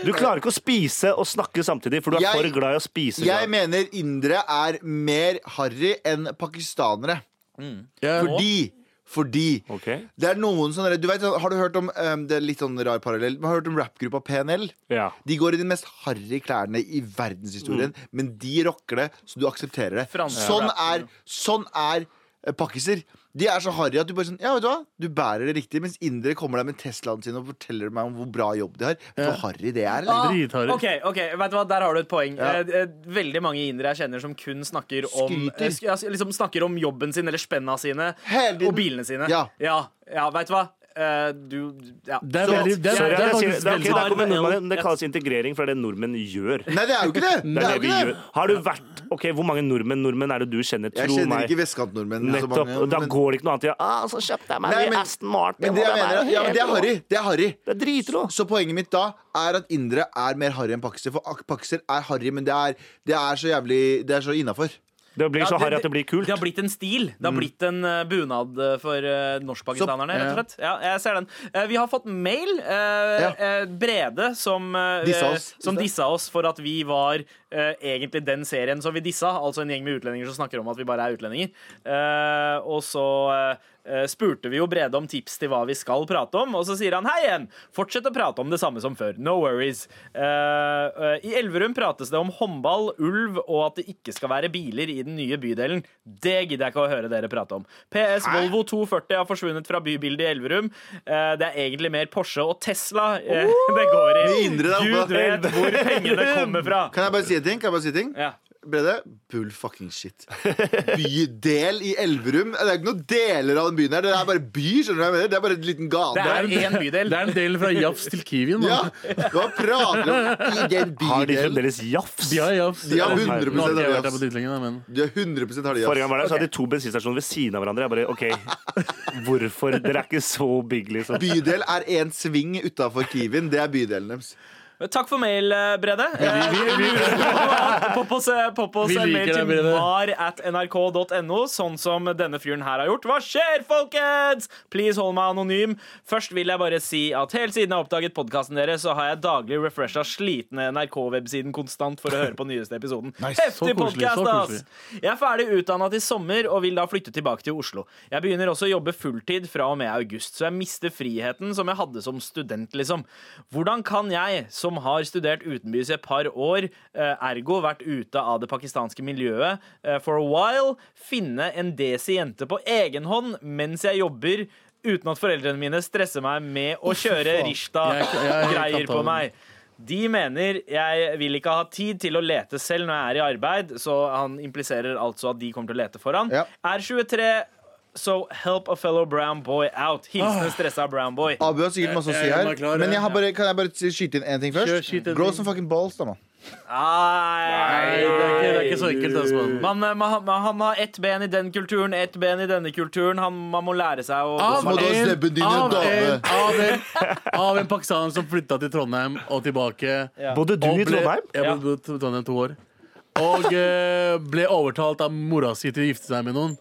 Du klarer ikke å spise og snakke samtidig, for du er
Jeg-
for glad i å spise.
Jeg mener indere er mer harry enn pakistanere.
Mm.
Ja.
Fordi fordi
Ok.
det er noen sånne du vet, Har du hørt om um, Det er litt sånn rar parallell. men Har du hørt om rappgruppa PNL?
Ja.
De går i de mest harry klærne i verdenshistorien,
Mm.
men de rocker det, så du aksepterer det.
Franske
Sånn
rappere.
er, sånn er eh, pakkiser. De er så harry at du bare sånn Ja, vet du hva, du bærer det riktig. Mens indere kommer der med Teslaen sin og forteller meg om hvor bra jobb de har. Vet du hvor harry det er?
Ah,
Eller?
Dritharry.
ok, ok, vet du hva, Der har du et poeng.
Ja.
Eh, eh, Veldig mange indere jeg kjenner som kun snakker om,
Skryter.
eh, sk- ja, liksom snakker om jobben sin eller spenna sine
Hele tiden.
og bilene sine.
Ja.
ja, ja, vet du hva? Eh, Du ja.
Det er
Så-
veldig- det er-
Sorry,
Jeg-
det
jeg
er
sier-
faktisk
det er ok,
veldig-
der kommer nordmannen inn, men
Ja.
det kalles integrering, for det er det nordmenn gjør.
Nei, det er jo ikke det!
Det
det, er
er det
jo
vi
ikke
gjør.
det.
Har du vært Ok, hvor mange nordmenn, nordmenn er det du kjenner?
Jeg
Tro
kjenner
meg.
ikke vestkantnordmenn. så
Nettopp.
mange,
Da
men-
går det ikke noe annet til ah, 'Så kjøpte jeg meg
Nei,
en
men-
ny Aston Martin'.
Men det, jeg
og
mener,
er
ja, men det er
helt
harry.
rå.
Det er harry.
Det er dritrå.
Så poenget mitt da er at indere er mer harry enn pakister. For ak- pakister er harry, men det er, det er så jævlig Det er så innafor.
Det blir så
Ja,
harry at det blir kult. Mm.
Det har blitt en stil. Det har blitt en eh, bunad eh, for eh, norskpakistanerne, rett og slett. Ja, jeg ser den. Eh, vi har fått mail. eh,
Ja.
eh, Brede som, eh,
Dissa oss.
som dissa oss for at vi var eh, egentlig den serien som vi dissa, altså en gjeng med utlendinger som snakker om at vi bare er utlendinger. Eh, og så eh, eh, spurte vi jo Brede om tips til hva vi skal prate om, og så sier han hei igjen! Fortsett å prate om det samme som før. No worries. Eh, eh, I Elverum prates det om håndball, ulv og at det ikke skal være biler i den nye bydelen. Det gidder jeg ikke å høre dere prate om. PS Volvo 240 har forsvunnet fra bybildet i Elverum. Eh, det er egentlig mer Porsche og Tesla eh, det går i.
Mye indre, da.
Gud vet hvor pengene kommer fra.
Kan jeg bare si en ting? Kan jeg bare si en ting?
Ja.
Brede, bull fucking shit. Bydel i Elverum. Det er ikke noen deler av den byen her. Det er bare by. skjønner du hva jeg mener? Det er bare en liten
Det
gate.
er én bydel.
Det er en del fra Jafs til Kiwien.
Ja,
Ja.
Hva prater du om i den
Har de
bydelen?
fremdeles jafs?
De har Jafs.
De har 100%
Nå har ikke jeg
av
vært der på
Jafs.
dit lenge, da, men
Du er 100 har de
Forrige gang
jazz.
var der, så hadde de to bensinstasjoner ved siden av hverandre. Jeg bare, ok, Hvorfor? Dere er ikke så big, liksom.
Bydel er én sving utafor Kiwien. Det er bydelen deres.
Takk for mail, eh, Brede. Eh, Popp oss, eh, popp oss
Vi
en mail
liker
til
deg, Brede.
var at nrk.no, sånn som denne fyren her har gjort. Hva skjer, folkens? Please hold meg anonym. Først vil jeg bare si at helt siden jeg oppdaget podkasten deres, så har jeg daglig refresha slitne NRK-websiden konstant for å høre på nyeste episoden. Heftig
så koselig, så
podcast,
koselig.
ass! Jeg er ferdig utdanna til sommer og vil da flytte tilbake til Oslo. Jeg begynner også å jobbe fulltid fra og med august, så jeg mister friheten som jeg hadde som student, liksom. Hvordan kan jeg, som har studert utenbys i et par år, eh, ergo vært ute av det pakistanske miljøet eh, for a while, finne en desi jente på egen hånd mens jeg jobber? Uten at foreldrene mine stresser meg med å kjøre
Jeg- jeg- jeg kan
Rishta-greier
ta
på
den.
meg. De mener jeg vil ikke ha tid til å lete selv når jeg er i arbeid, så han impliserer altså at de kommer til å lete for han.
Ja.
Er 23, so help a fellow brown boy out. Hilsen stressa brown boy.
Abu har sikkert masse å si
Jeg- jeg
her.
er klar,
Men jeg
ja.
har bare, kan jeg bare skyte inn én ting
Kjør,
først?
skyt en
Grow
ting.
some fucking balls, da, mann.
Ah.
Nei, det er ikke, det er ikke så enkelt. Altså. Man,
Man, eh, man, man, han har ett ben i den kulturen, ett ben i denne kulturen. Han, man må lære seg å
av,
må du ha
en,
slebben din,
av,
dame.
en, av, en, av en pakistaner som flytta til Trondheim og tilbake.
Bodde du
og
i Trondheim?
Jeg bodde i Trondheim to år. Og eh, ble overtalt av mora si til å gifte seg med noen.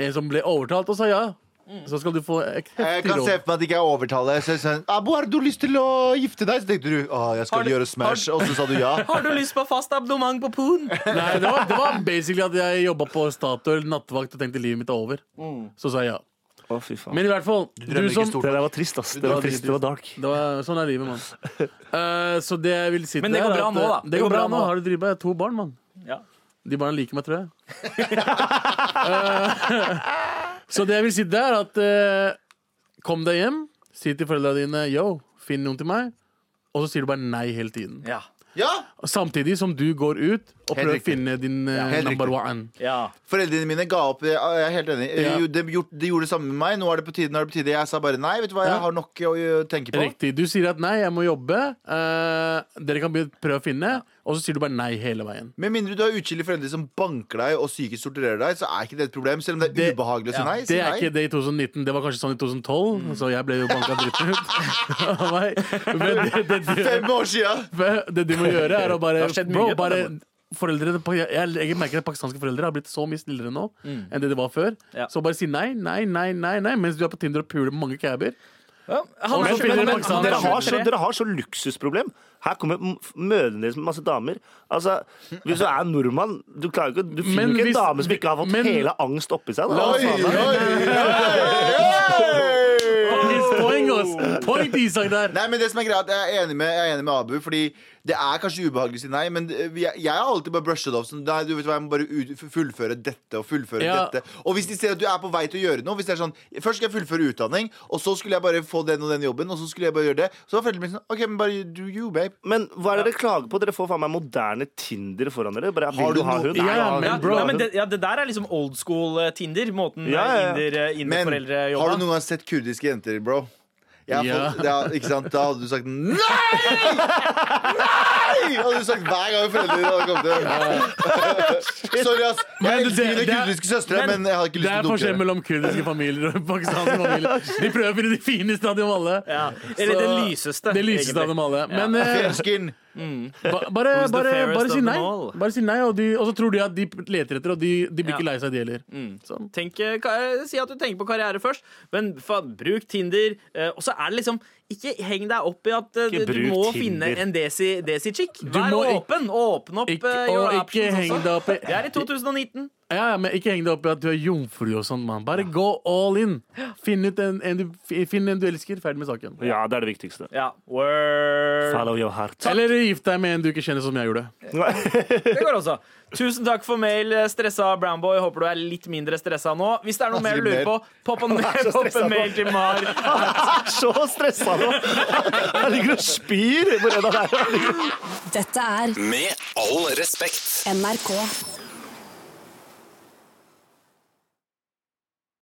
En som ble overtalt og sa ja.
Mm.
Så skal du få et
Jeg
heftig
kan se
råd.
for meg at ikke jeg overtaler. Så jeg sånn, Abu, har du lyst til å gifte deg? Så tenkte du å, jeg
Har
skal
du-
gjøre Smash, og så sa du ja.
Har du lyst på fast abonnement på Poon?
Nei, det var, det var basically at jeg jobba på Statoil nattevakt og tenkte livet mitt er over.
Mm.
Så sa jeg ja.
Å, fy faen.
Men i hvert fall, du
drømmer ikke
som
stort.
Det der var trist, ass. Det var trist, det var dark.
det var, Sånn er livet, mann. Eh, så det jeg vil si til
Men det går
deg er
bra
at,
nå, da.
eh, Det, går bra, nå. Har du drivet to barn, mann?
Ja.
De barna liker meg, tror jeg. Eh, så det jeg vil si det er at eh, kom deg hjem, si til foreldrene dine yo, finn noen til meg. Og så sier du bare nei hele tiden.
Ja.
Ja!
Samtidig som du går ut
Helt
og prøver å
riktig.
finne din eh,
helt
number
riktig.
one.
ja.
Foreldrene mine ga opp. Jeg er helt enig. Eh,
Ja.
Jo, De, gjorde, de gjorde det samme med meg. Nå er det på tide. Nå er det på tide. Jeg sa bare nei. Vet du hva, jeg
Ja.
har nok å ø, tenke på.
Riktig. Du sier at nei, jeg må jobbe. eh, dere kan be- prøve å finne. Og så sier du bare nei hele veien.
Med mindre du har utskillige foreldre som banker deg og psykisk torturerer deg, så er ikke det et problem. Selv om det er
Det-
ubehagelig å si nei.
Det
si
er
nei.
ikke det i 2019. Det var kanskje sånn i 2012,
Mm.
så jeg ble jo banka dritten ut av meg. Men det, det, det,
Fem år sia!
Det du må gjøre, er å bare,
Det har skjedd
bro,
mye på
bare
den
Foreldrene, på- jeg, jeg merker at Pakistanske foreldre har blitt så mye snillere nå enn det de var før.
Mm. Ja.
Så bare si nei, nei, nei, nei, nei mens du er på Tinder og puler med mange cabber.
Han
Men-
men- men-
men-
han er
Dere har så,
23.
dere har så luksusproblem. Her kommer m- f- mødrene deres med masse damer. Altså, Hvis du er nordmann, du, klarer ikke, du finner
Men
ikke en
hvis-
dame som ikke har fått
men-
hele angst oppi seg.
La
Da.
oss-
Oi, oi, oi, oi!
His poeng, ass. on point, Isak der!
Nei, men det som er greia er at Jeg er enig med, jeg er enig med Abu, Fordi det er kanskje ubehagelig å si nei, men eh, jeg, jeg har alltid bare brushet off. Sånn, nei, du vet hva, jeg må bare ut, fullføre dette og fullføre
Ja.
dette. Og hvis de ser at du er på vei til å gjøre noe Hvis det er sånn, Først skal jeg fullføre utdanning, og så skulle jeg bare få den og den jobben, og så skulle jeg bare gjøre det. Så var foreldrene mine sånn OK, men bare do you, babe.
Men hva er det dere klager på? Dere får faen meg moderne Tinder foran dere. Bare,
Har
vil
du
du ha
noe-
hun?
Ja,
jeg har
men
Ja,
hun.
bro.
ja,
Vil du ha
men
hun?
det, ja, det der er liksom old school eh, Tinder. Måten
Ja, ja, ja.
Men
inderforeldre
har du
jobber.
noen gang sett kurdiske jenter, bro? Jeg har
Ja.
fått, ja, ikke sant? Da hadde du sagt nei! Nei! Hadde du sagt hver gang foreldrene hadde kommet til Sorry, ass.
Men
Jeg
det-
elsker mine
det er-
kurdiske søstre,
men
men jeg hadde ikke
Det
lyst
er
til å
forskjell
dunke det.
mellom kurdiske familier og pakistanske familier. De prøver å finne de fineste av dem alle.
Ja. Eller
Så-
den lyseste,
Det lyseste av
egentlig.
dem alle.
Ja.
Men eh,
Fersken.
Ba- Bare,
Who's the
bare,
fairest
bare
of
si
them
nei.
all?
Bare si nei og, de, og så tror de at de leter etter, og de, de blir
Ja.
ikke lei seg, de heller. Sånn.
Tenk, eh, ka- si at du tenker på karriere først, men faen, bruk Tinder. eh, Og så er det liksom Ikke heng deg opp i at eh,
Ikke
du
bruk
må
Tinder.
finne en desi- desi-chick. Vær
må ikk-
åpen. Åpne opp
Ikke,
eh, your
og ikke
options
heng
også.
deg opp i
Det er i 2019.
ja, ja, men Ikke heng deg opp i at du er jomfru og sånn, mann. Bare gå all in. Finn, ut en, en, du- fi- finn en du elsker. Ferdig med saken.
Ja, det er det viktigste.
Ja. Word.
Follow your heart.
Eller gift deg med en du ikke kjenner, som jeg gjorde.
Det går også. Tusen takk for mail, eh, stressa Brownboy. Håper du er litt mindre stressa nå. Hvis det er noe mer du lurer på, popp en, popp en mail til Mar.
er så stressa nå! Jeg ligger og spyr hvor enn han er.
Dette er
Med all respekt.
NRK.